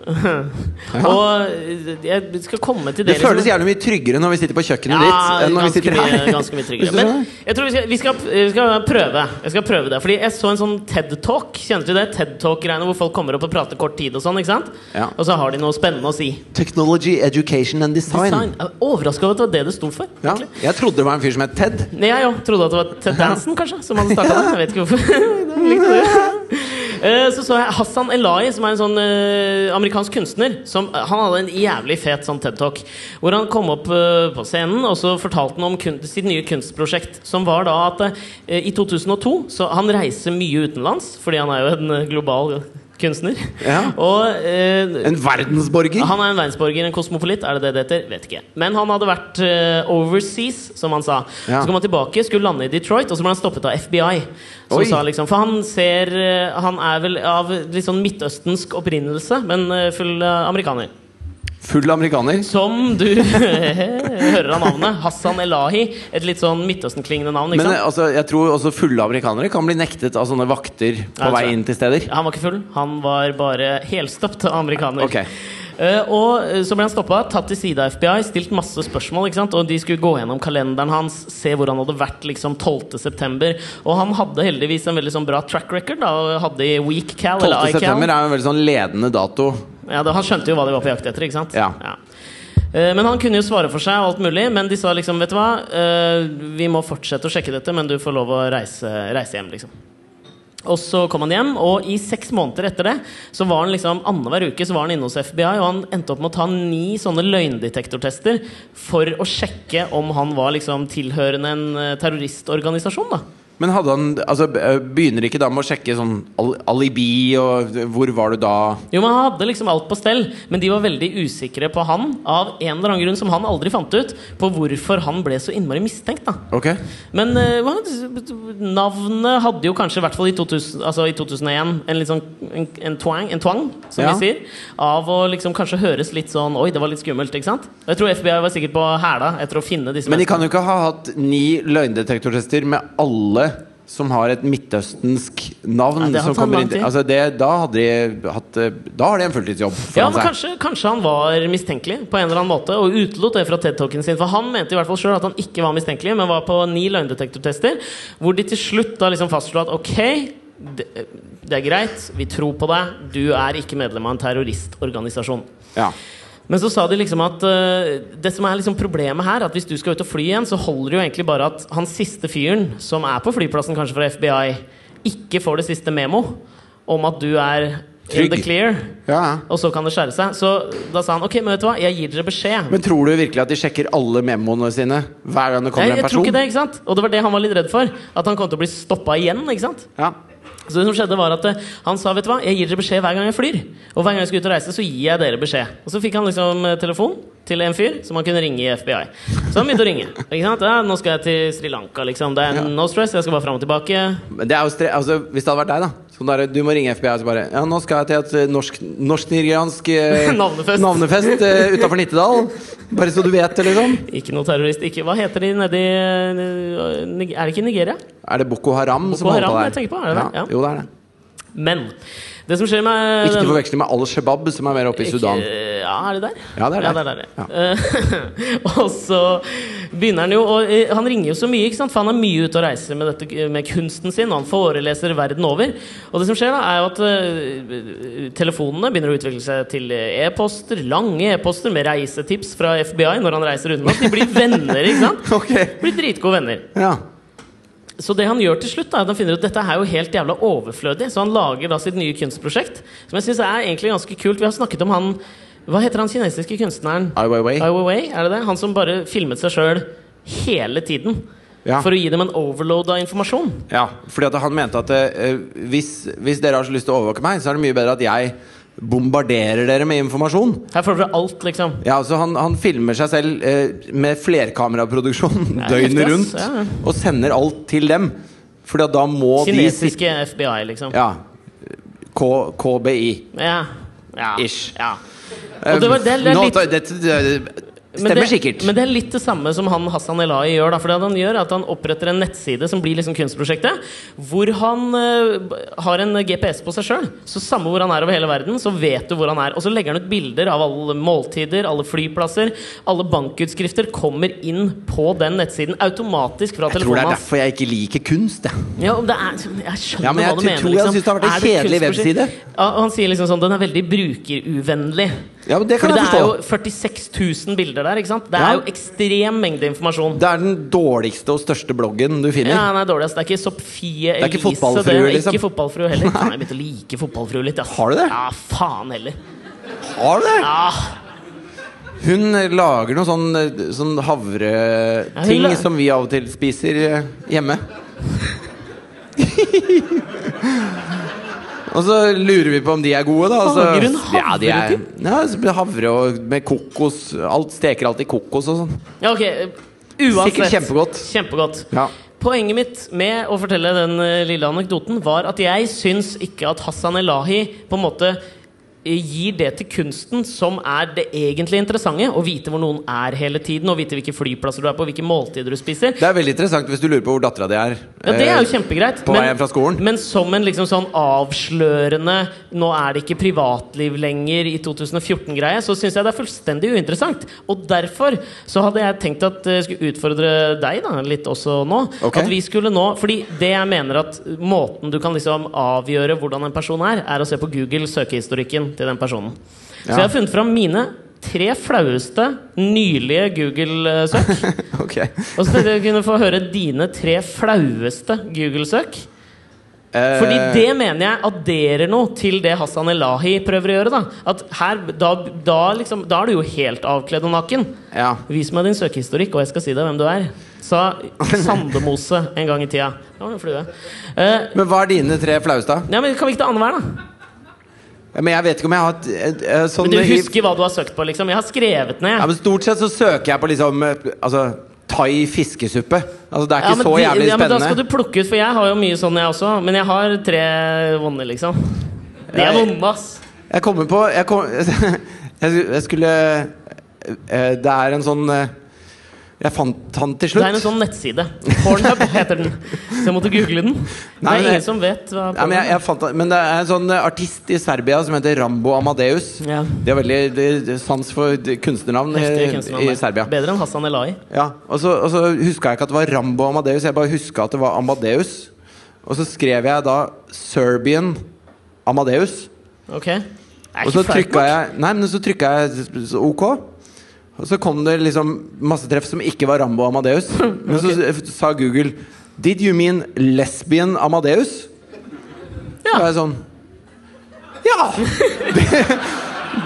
Og eh, jeg skal komme til Det det føles jævlig mye tryggere når vi sitter på kjøkkenet ditt enn når vi ganske sitter her. mye- ganske mye tryggere. Hvis du Men skjønner? jeg tror vi skal, vi skal, vi skal prøve. Jeg skal prøve det Fordi jeg så en sånn TED Talk. Kjenner du det? TED Talk-greiene Hvor folk kommer opp og prater kort tid og sånn. ikke sant? Ja. Og så har de noe spennende å si. Technology, Education and Design. Design. Jeg er Overraska over at det var det det sto for. Ja, egentlig. jeg trodde det var en fyr som het Ted. Nei, Jeg òg trodde at det var Ted Dansen kanskje som hadde starta det. Jeg vet ikke hvorfor. [laughs] Det Likte det. Eh, Så så jeg Hassan Elai, som er en sånn eh, amerikansk kunstner. Som, eh, han hadde en jævlig fet sånn TED Talk. Hvor han kom opp eh, på scenen og så fortalte han om kun, sitt nye kunstprosjekt. Som var da at eh, i 2002 så Han reiser mye utenlands, fordi han er jo en eh, global kunstner. Ja. Og eh, En verdensborger. han er en verdensborger, en kosmopolit. Er det det det heter? Vet ikke. Men han hadde vært eh, overseas, som han sa. Ja. Så kom han tilbake, skulle lande i Detroit, og så ble han stoppet av FBI. Som Oi. sa liksom, For han ser eh, Han er vel av litt sånn midtøstensk opprinnelse, men eh, full eh, amerikaner. Full amerikaner. Som du [laughs] hører av navnet. Hassan Elahi. Et litt sånn Midtøsten-klingende navn. Men ikke eh, sant? altså, jeg tror også fulle amerikanere kan bli nektet av sånne vakter Ja, på jeg vei tror inn til steder. Han var ikke full, han var bare helstøpt av amerikaner. Ok. Eh, og eh, så ble han stoppa, tatt til side av FBI, stilt masse spørsmål. Ikke sant? Og de skulle gå gjennom kalenderen hans, se hvor han hadde vært liksom 12.9. Og han hadde heldigvis en veldig sånn bra track record. Da, og hadde i Weak Cal 12. eller september iCal. er jo en veldig sånn ledende dato. Ja, da, han skjønte jo hva de var på jakt etter, ikke sant? Ja. Eh, Men han kunne jo svare for seg og alt mulig, men de sa liksom, vet du hva, eh, vi må fortsette å sjekke dette, men du får lov å reise, reise hjem, liksom. Og så kom han hjem, og i seks måneder etter det Så var han liksom annenhver uke Så var han inne hos FBI, og han endte opp med å ta ni sånne løgndetektortester for å sjekke om han var liksom tilhørende en eh, terroristorganisasjon. da Men hadde han altså, Begynner ikke da med å sjekke sånn al alibi og hvor var du da? Jo, men Han hadde liksom alt på stell, men de var veldig usikre på han av en eller annen grunn som han aldri fant ut, på hvorfor han ble så innmari mistenkt. da Ok Men eh, hva- navnet hadde jo kanskje, i hvert fall i, 2000, altså i 2001, en litt sånn en, en, twang, en twang, som Ja. vi sier. Av å liksom kanskje høres litt sånn Oi, det var litt skummelt. ikke sant? Og jeg tror FBI var sikkert på hæla etter å finne disse Men de kan jo ikke ha hatt ni løgndetektortester med alle som har et midtøstensk navn. Nei, det hadde som tatt kommer lang inn tid. Altså det, da, hadde de hatt, eh, da har de en fulltidsjobb Ja, foran men seg. kanskje, kanskje han var mistenkelig på en eller annen måte og utelot det fra TED-talken sin. For han mente i hvert fall selv at han ikke var mistenkelig, men var på ni løgndetektortester. Hvor de til slutt da liksom fastslo at ok, det, det er greit, vi tror på deg, du er ikke medlem av en terroristorganisasjon. Ja. Men så sa de liksom at eh, det som er liksom problemet her, at hvis du skal ut og fly igjen, så holder det jo egentlig bare at han siste fyren, som er på flyplassen kanskje fra FBI, ikke får det siste memo om at du er in Trygg. the clear. Ja. Og så kan det skjære seg. Så da sa han ok, men vet du hva, jeg gir dere beskjed. Men tror du virkelig at de sjekker alle memoene sine hver gang det Jeg, kommer jeg en tror person? ikke det, ikke sant? Og det var det han var litt redd for. At han kom til å bli stoppa igjen. ikke sant? Ja. Så det som skjedde var at eh, han sa vet du hva, jeg gir dere beskjed hver gang jeg flyr. Og hver gang jeg skal ut og reise, så gir jeg dere beskjed. Og så fikk han liksom eh, telefon til en fyr som han kunne ringe i FBI. Så han begynte å ringe. ikke sant? Ja, 'Nå skal jeg til Sri Lanka', liksom. Det er no stress, jeg skal bare fram og tilbake. Men Det er jo stre altså, hvis det hadde vært deg, da. Sånn der, du må ringe FBI og så bare Ja, nå skal jeg til et eh, norsk, norsk-nigeriansk eh, [laughs] Navnefest. navnefest eh, utafor Nittedal. [laughs] Bare så du vet det, liksom. Ikke noe terrorist. ikke, Hva heter de nedi eh, Nig- Er det ikke Nigeria? Er det Boko Haram som holder Haram på der? jeg tenker på, er det det? Ja. Ja. Jo, det er det. Men det som skjer med Ikke den- til forveksling med al-Shabaab, som er mer oppe i Ikke- Sudan. [laughs] Ja, er det der? Ja, det er der. ja. Eh, [laughs] og så begynner han jo å eh, Han ringer jo så mye, ikke sant? for han er mye ute og reiser med, dette, med kunsten sin. Og han foreleser verden over. Og det som skjer, da, er jo at eh, telefonene begynner å utvikle seg til eh, e-poster. Lange e-poster med reisetips fra FBI når han reiser rundt med oss. De blir venner, ikke sant? Ok, Blir dritgode venner. ja Så det han gjør til slutt, da, er at han finner ut at dette er jo helt jævla overflødig. Så han lager da sitt nye kunstprosjekt, som jeg syns er egentlig ganske kult. Vi har snakket om han Hva heter han kinesiske kunstneren? Ai Weiwei Ai Weiwei, er det det? Han som bare filmet seg sjøl hele tiden. Ja. For å gi dem en overload av informasjon. Ja, fordi at han mente at eh, hvis, hvis dere har så lyst til å overvåke meg Så er det mye bedre at jeg bombarderer dere med informasjon Her får dere alt, liksom. Ja, altså han, han filmer seg selv eh, med [laughs] flerkameraproduksjon er Døgnet heftig, ass. rundt Ja, ja. Og sender alt til dem Fordi at da må de Kinesiske FBI, liksom. Ja, K KBI Ja. ja. Ish. Ja. Og det var- det er- det er Ehm, Nå litt- tar- dette, det, Men Stemmer det, sikkert Men det er litt det samme som han Hassan Elahi gjør. Da, for det han gjør er at Han oppretter en nettside som blir liksom kunstprosjektet. Hvor han eh, b- har en GPS på seg sjøl. Så samme hvor han er over hele verden, så vet du hvor han er. Og så legger han ut bilder av alle måltider, alle flyplasser. Alle bankutskrifter kommer inn på den nettsiden automatisk fra Jeg tror det telefonen er hans. derfor jeg ikke liker kunst jeg. Ja, men det er, jeg skjønner Ja, men jeg hva du tror- mener. tror jeg liksom. synes det har vært en Er det kjedelig kunstprosjekt? webside. Ja, og han sier liksom sånn Den er veldig brukeruvennlig. Ja, men det kan Fordi jeg det er forstå. jo 46 000 bilder der. ikke sant? Det Ja. er jo ekstrem mengde informasjon. Det er den dårligste og største bloggen du finner Ja, nei, dårligst. Det er ikke Sophie Elise. er ikke fotballfrue, det er liksom. Ikke fotballfrue [laughs] heller. Faen, jeg begynte å like fotballfrue litt. Ass. Har du det? Ja, faen heller. Har du det? Ah, Hun lager noen sånn, sånn Ja, hun havreting la- som vi av og til spiser eh, hjemme. [laughs] og så lurer vi på om de er gode, da. og Så, Lager hun ja, de er, havreting? ja, så blir havre og med kokos. Alt steker alltid kokos og sånn. ja, ok. Uansett. Sikkert kjempegodt. Kjempegodt. Ja. Poenget mitt med å fortelle den eh, lille anekdoten var at jeg syns ikke at Hassan Elahi på en måte eh, gir det til kunsten som er det egentlig interessante. Å vite hvor noen er hele tiden, og vite hvilke flyplasser du er på, hvilke måltider du spiser. Det er veldig interessant hvis du lurer på hvor dattera di er. Ja, det er jo eh, kjempegreit. På vei hjem fra skolen. men som en liksom sånn avslørende 'nå er det ikke privatliv lenger' i 2014-greie, så syns jeg det er fullstendig uinteressant. Og derfor så hadde jeg tenkt at jeg skulle utfordre deg da, litt også nå. Ok. At vi skulle nå Fordi det jeg mener at måten du kan liksom avgjøre hvordan en person er, er å se på Google søkehistorikken til den personen. Så Ja. jeg har funnet fram mine tre flaueste nylige Google-søk. Eh, [laughs] Ok. Og så tenkte jeg kunne få høre dine tre flaueste Google-søk. Fordi Eh, det mener jeg adderer noe til det Hassan Elahi prøver å gjøre. Da At her, da, da, liksom, da er du jo helt avkledd og naken. Ja. Vis meg din søkehistorikk, og jeg skal si deg hvem du er. Sa Sandemose en gang i tida. Det var en flue. Eh, Men hva er dine tre flaueste? ja, men Kan vi ikke ta annenhver, da? Ja, Men jeg vet ikke om jeg har hatt eh, eh, sånn Men du i- husker hva du har søkt på, liksom? Jeg har skrevet ned. Ja, men Stort sett så søker jeg på liksom eh, Altså thai fiskesuppe. Altså Det er ikke men så de- jævlig ja, men Da skal spennende. du plukke ut, for jeg har jo mye sånn, jeg også. Men jeg har tre vonde, liksom. De er Jeg- vonde, ass. Jeg kommer på Jeg, kom, [laughs] jeg, jeg skulle eh, Det er en sånn eh, Jeg fant han til Det er en slutt. sånn nettside. Pornhub heter den. Så jeg måtte google den. det Nei, men er jeg- ingen som vet hva Ja, men, jeg, jeg fant, han- men det er en sånn eh, artist i Serbia som heter Rambo Amadeus. Ja. De har veldig de- sans for de- kunstnernavn i, Heftige kunstnernavn i der. Serbia. Bedre enn Hassan Elahi. Ja, og så, og så huska jeg ikke at det var Rambo Amadeus, jeg bare huska at det var Amadeus. Og så skrev jeg da Serbian Amadeus. Ok. Det er Og ikke så flaut trykka nok. jeg Nei, men så trykka jeg s- s- OK. Og så kom det liksom masse treff som ikke var Rambo Amadeus. [laughs] Men så s- sa Google Did you mean lesbian Amadeus? Ja. Ja. Da er jeg sånn Ja! [laughs]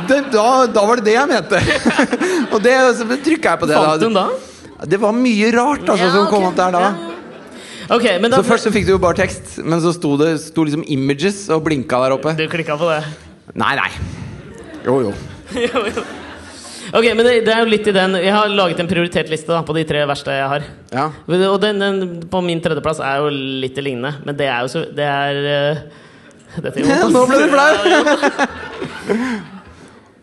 [laughs] Det, det, da, da var det det jeg mente. [laughs] Og det, så trykka jeg på det. Fant hun da? Det var mye rart altså, Ja, som ok. kom opp der da. Ok, men da Så først så fikk du jo bare tekst, men så sto det sto liksom images og blinka der oppe. Du klikka på det. [laughs] Nei, nei. Jo, jo. Ok, men det, det er jo litt i den Jeg har laget en prioritert liste da, på de tre verste jeg har. Ja. Og den, den på min tredjeplass er jo litt det lignende, men det er jo så Det er eh, Dette gjør vondt, ass. [laughs] Nå ble du flau!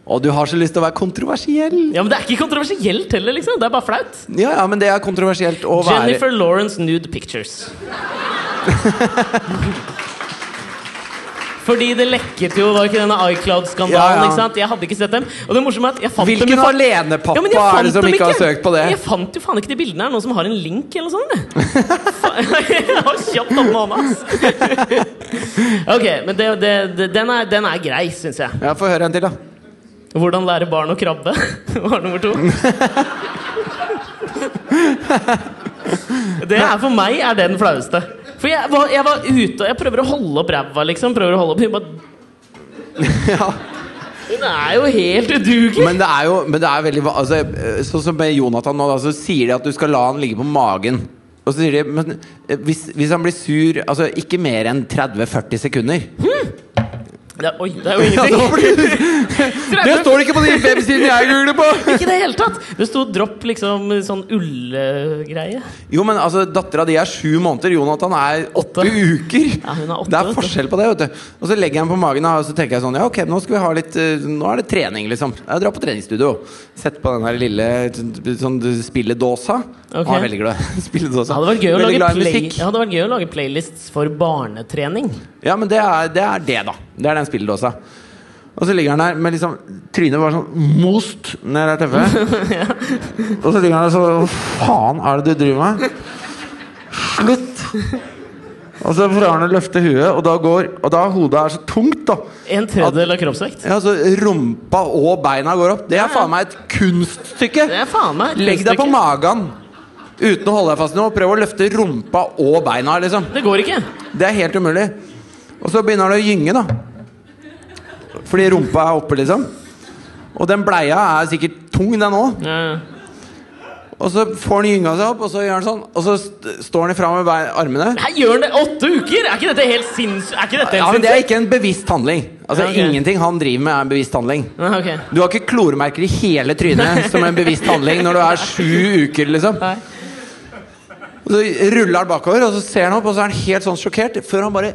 Og du har så lyst til å være kontroversiell. Ja, men det er ikke kontroversielt heller, liksom. Det er bare flaut. Ja, ja, men det er kontroversielt å være Jennifer Lawrence nude pictures. [laughs] Fordi det lekket jo, var ikke denne iCloud-skandalen? Ja, ja. ikke sant? Jeg hadde ikke sett dem. Og det morsomme er at jeg fant Hvilken dem jo- alenepappa men jeg er det fant som dem ikke har søkt på det? Jeg fant jo faen ikke de bildene. Er det noen som har en link eller noe sånt? eller? [laughs] jeg har kjapt opp med hånda, ass. [laughs] ok, men det, det, det, den, er, den er grei, syns jeg. Ja, Få høre en til, da. Hvordan lære barn å krabbe [laughs] var nummer to. Det er for meg er den flaueste. For jeg var, jeg var ute og jeg prøver å holde opp ræva, liksom. Prøver å holde opp Hun bare [laughs] Ja. Hun er jo helt udugelig! Men det er jo men det er veldig va- altså, eh, Sånn som med Jonathan nå, da, så sier de at du skal la han ligge på magen. Og så sier de Men eh, hvis, hvis han blir sur Altså ikke mer enn 30-40 [laughs] sekunder. Det er, oi, det er jo Ja, da ingenting. blir du- [laughs] det står ikke på de websidene jeg googler på! Ikke i det hele tatt! Det sto 'dropp' liksom sånn ullgreie. Jo, men altså, Dattera di er sju måneder, Jonathan er åtte Åtte. uker. Ja, hun er åtte, det er vet du. forskjell på det. vet du Og så legger jeg den på magen, og så tenker jeg sånn Ja, ok, nå skal vi ha litt eh, Nå er det trening, liksom. Jeg drar på treningsstudio. Sett på den her lille sånn spilledåsa. Ok. Jeg er veldig glad i [laughs] Det spilledåsa. hadde vært gøy å Veldig lage, glad i play, musikk. det hadde vært gøy å lage playlists for barnetrening. Ja, men det er, det er det, da. Det er den spilledåsa. Og så ligger han der med liksom trynet bare sånn most ned i teppet. [laughs] Og så ligger han der sånn Hva faen er det du driver med? Slutt! Og så prøver han å løfte huet, og da går Og da hodet er så tungt, da. En tredjedel av kroppsvekt. Ja, så rumpa og beina går opp. Det er faen meg et kunststykke! Det er faen meg et Legg deg på kunststykke. magen uten å holde deg fast i noe. Prøv å løfte rumpa og beina, liksom. Det går ikke. Det er helt umulig. Og så begynner det å gynge, da. Fordi rumpa er oppe, liksom. Og den bleia er sikkert tung, den òg. Ja, ja. Og så får den gynga seg opp, og så gjør den sånn. Og så st står den ifra med bei- armene. Her gjør han det åtte uker! Er ikke dette helt sinnssykt? Er ikke dette Ja, helt men Det er sinnssykt? ikke en bevisst handling. Altså Ja, ok. Ingenting han driver med, er en bevisst handling. Nei, ok. Du har ikke kloremerker i hele [laughs] trynet som en bevisst handling når du er sju uker, liksom. Nei. Og så ruller han bakover, og så ser han opp, og så er han helt sånn sjokkert før han bare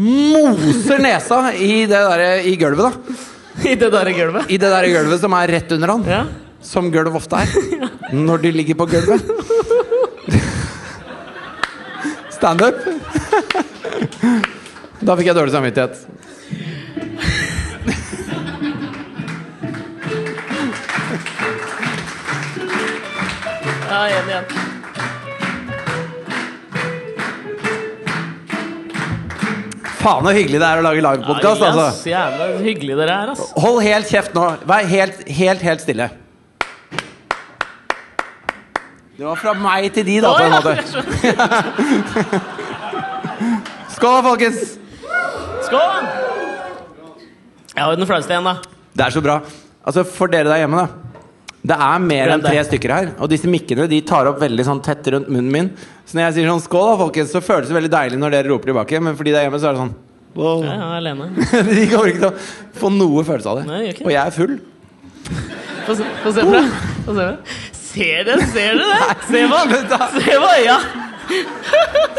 moser nesa i det der, i gulvet, da. I det der gulvet. [laughs] I det der gulvet som er rett under han. Ja. Som gulv ofte [laughs] er. Når de ligger på gulvet. Standup. Da fikk jeg dårlig samvittighet. ja igjen, igjen. Faen så hyggelig det er å lage livepodkast, altså! Yes, jævla hyggelig dere er, ass. Hold helt kjeft nå. Vær helt, helt, helt stille. Det var fra meg til de, da, på Å, en ja, måte. Skål, folkens! Skål! Jeg har jo den flaueste igjen, da. Det er så bra. Altså, For dere der hjemme, da. Det er mer Glem enn tre det. stykker her. Og disse mikkene de tar opp veldig sånn tett rundt munnen min. Så når jeg sier sånn 'skål', da, folkens, så føles det veldig deilig når dere roper tilbake. Men for de der hjemme, så er det sånn wow. Jeg er alene. [laughs] De kommer ikke til å få noe følelse av det. Nei, gjør ikke det. og jeg er full. Få se, få se på det. Få se på det. Ser dere ser dere det? Se [laughs] på slutt da. Se på øya!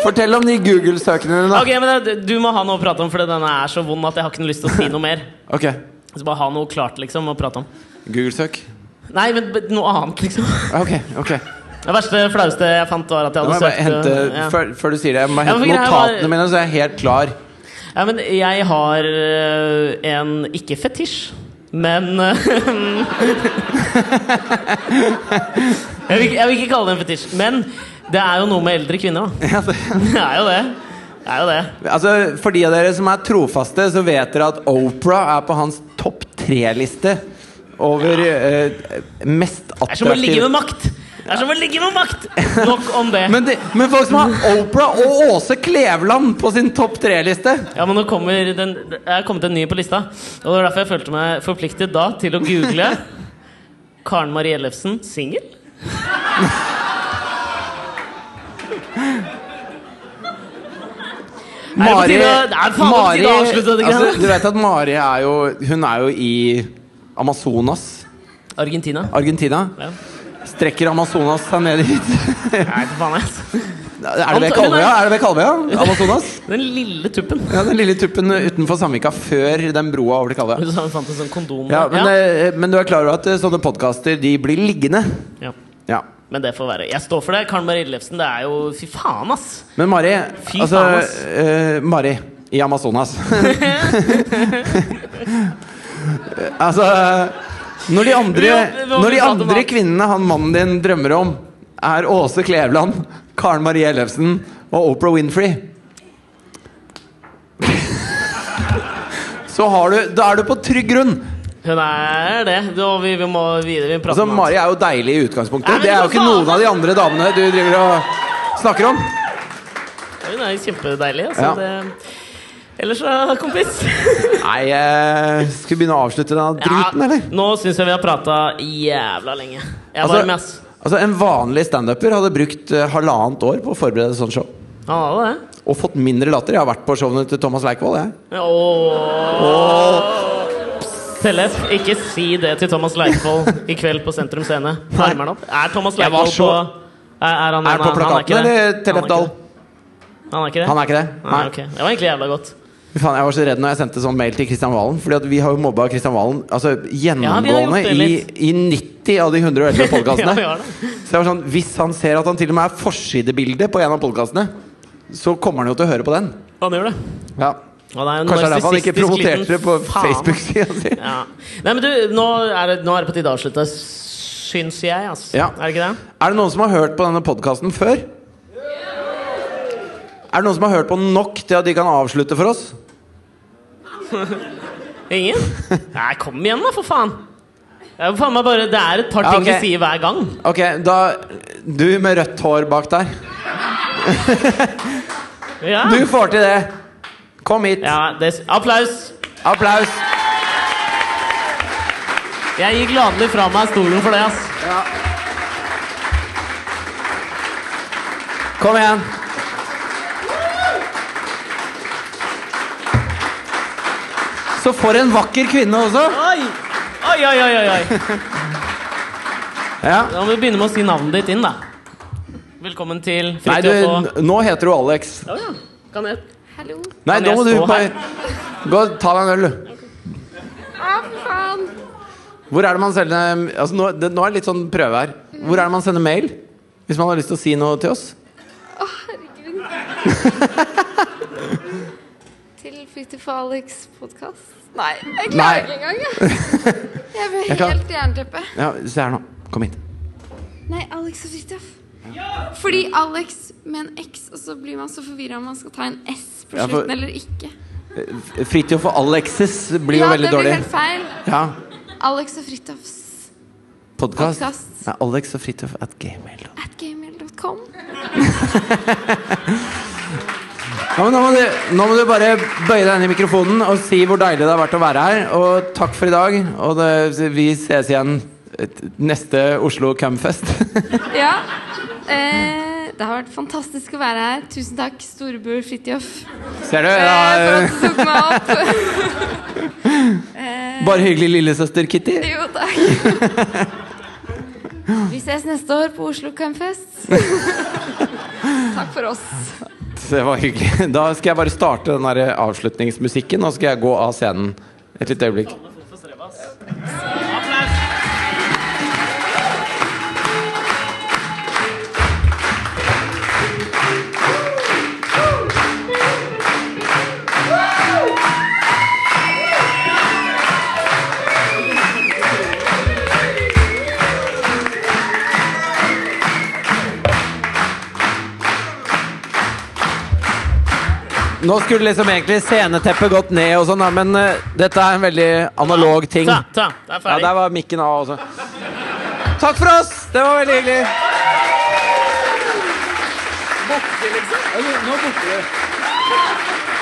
Fortell om de Google-søkningene, da. Ok, men det, Du må ha noe å prate om, for denne er så vond at jeg har ikke lyst til å si noe mer. Ok, Så bare ha noe klart liksom å prate om. Google-søk. Nei, men b- noe annet, liksom. Ok, ok Det verste flaueste jeg fant, var at jeg Da må hadde jeg bare søkt hente, eh, ja. før, før du sier det, jeg må Ja, hente for greia var- notatene mine, så jeg er helt klar. Ja, men jeg har øh, en ikke fetisj, men øh, [laughs] jeg, vil, ikke- jeg vil ikke kalle det en fetisj, men det er jo noe med eldre kvinner, da. [laughs] Det er jo det. Det er jo det. Altså, For de av dere som er trofaste, så vet dere at Oprah er på hans topp tre-liste over eh, mest Det er som å ligge attraktive med makt! Det er som å ligge med makt! Nok om det. men, de, men folk som har Oprah og Åse Kleveland på sin topp tre-liste Ja, men nå kommer den, det er kommet en ny på lista. Og det var derfor jeg følte meg forpliktet da til å google [laughs] Karen Marie Ellefsen singel. Er det på Mari, tide å- Det er faen på tide å avslutte dette altså, Du greiene. vet at Mari er jo Hun er jo i Amazonas, Argentina. Argentina. Ja. Strekker Amazonas seg ned dit? Nei, for faen, altså. ass. [laughs] Er det ved Kalvøya? Er det ved Kalvøya? [laughs] Amazonas? Den lille tuppen. Ja, den lille tuppen utenfor Sandvika før den broa over til Kalvøya. Du sa hun fant en sånn kondom. Ja, men, ja. eh, men du er klar over at eh, sånne podkaster, de blir liggende? Ja. Ja. men det får være. Jeg står for det. Karen Marie Ellefsen, det er jo Fy faen, ass! Men Mari, Fy altså faen, ass. eh, Mari i [laughs] Amazonas [laughs] Altså Når de andre, Jo, nå må når vi de prate om andre han. kvinnene han mannen din drømmer om, er Åse Kleveland, Karen Marie Ellefsen og Oprah Winfrey [laughs] Så har du, da er du på trygg grunn. Hun er det. Og vi, vi må videre. Vi prater Altså, om Mari er jo deilig i utgangspunktet. Nei, men Det er jo for ikke faen! noen av de andre damene du driver og snakker om. Hun er kjempedeilig. Altså, Ja. det... Ellers da, kompis Nei, eh, skal vi begynne å avslutte denne driten, eller? Nå syns jeg vi har prata jævla lenge. Jeg er varm, ass. Altså, altså En vanlig standuper hadde brukt eh, halvannet år på å forberede et sånt show. Han hadde det. Og fått mindre latter. Jeg har vært på showene til Thomas Leikvoll. Jeg. Ååå. Tellef, ikke si det til Thomas Leikvoll i kveld på Sentrum Scene. Armer han opp. Er Thomas Jeg var Leikvoll på så- Er, er han Er det på han- han ikke plakaten, det. eller Tellef Dahl? Han er ikke det? Han er ikke det? Nei, ok. Det var egentlig jævla godt. Fy Faen, jeg var så redd når jeg sendte sånn mail til Kristian Valen. Fordi at vi har jo mobba Kristian Valen altså, gjennomgående det i, litt. i 90 av de [laughs] 111 Ja, podkastene. vi har det. så jeg var sånn, hvis han ser at han til og med er forsidebilde på en av podkastene, så kommer han jo til å høre på den. Han gjør det. Ja. Og det er en Kanskje det er derfor han ikke narsissistisk liten promoterte det på faen. Facebook-sida si. Ja. Nei, men du, nå er det, nå er det på tide å avslutte, syns jeg. Ass. Ja. Er det ikke det? [laughs] Er det noen som har hørt på denne podkasten før? Er det noen som har hørt på den nok til at de kan avslutte for oss? Ingen? Nei, kom igjen, da, for faen! Det er, jo faen meg bare, det er et par Ja, ting ok. vi sier hver gang. Ok, da Du med rødt hår bak der. Ja. Du får til det! Kom hit. Ja, det, applaus! Applaus. Jeg gir gladelig fra meg stolen for det, ass. Kom igjen. Så for en vakker kvinne også. Oi! Oi, oi, oi, oi, oi. Ja. Da må vi begynne med å si navnet ditt inn, da. Velkommen til Nei, du, Fridtjof og n- nå heter du Alex. ja, ja. Kan jeg Hallo. Nei, Kan nå jeg må du stå bare Gå og ta deg en øl, du. Å, Ah, for faen. Hvor er det man sender altså nå, det, nå er det litt sånn prøve her. Hvor er det man sender mail? Hvis man har lyst til å si noe til oss? Å, [laughs] herregud. Til Fritid for Alex podkast. Nei, jeg Nei. klarer ikke engang. [laughs] jeg. Jeg ble Jeg klarer- helt jernteppe. Ja, Se her nå. Kom hit. Nei, Alex og Fridtjof. Fordi Alex med en X, og så blir man så forvirra om man skal ta en S på Ja, for- slutten eller ikke. F- Fridtjof Eh, og Alexis blir jo ja, veldig det blir dårlig. helt feil. Ja, Alex og Fridtjofs Podkast. Podcast. Nei, Alex og Fridtjof at gmail. at gmail.com. Ja, men nå, må du, nå må du bare bøye deg ned i mikrofonen og si hvor deilig det har vært å være her. Og takk for i dag. Og det, vi ses igjen et- neste Oslo Camfest. Ja. Eh, det har vært fantastisk å være her. Tusen takk, storebror Fridtjof, [laughs] Ser du? eh, for Ja, at du tok meg opp. bare hyggelig, lillesøster Kitty. [laughs] Jo, takk. Vi ses neste år på Oslo [laughs] Campfest. Takk for oss. Det var hyggelig. Da skal jeg bare starte den der avslutningsmusikken, og så skal jeg gå av scenen. Et lite øyeblikk. Nå skulle liksom egentlig sceneteppet gått ned og sånn, da, men eh, dette er en veldig analog ting. Ta, ta, det er Ja, ferdig. der var mikken av også. Takk for oss! Det var veldig hyggelig. Borte, liksom? Nå borte.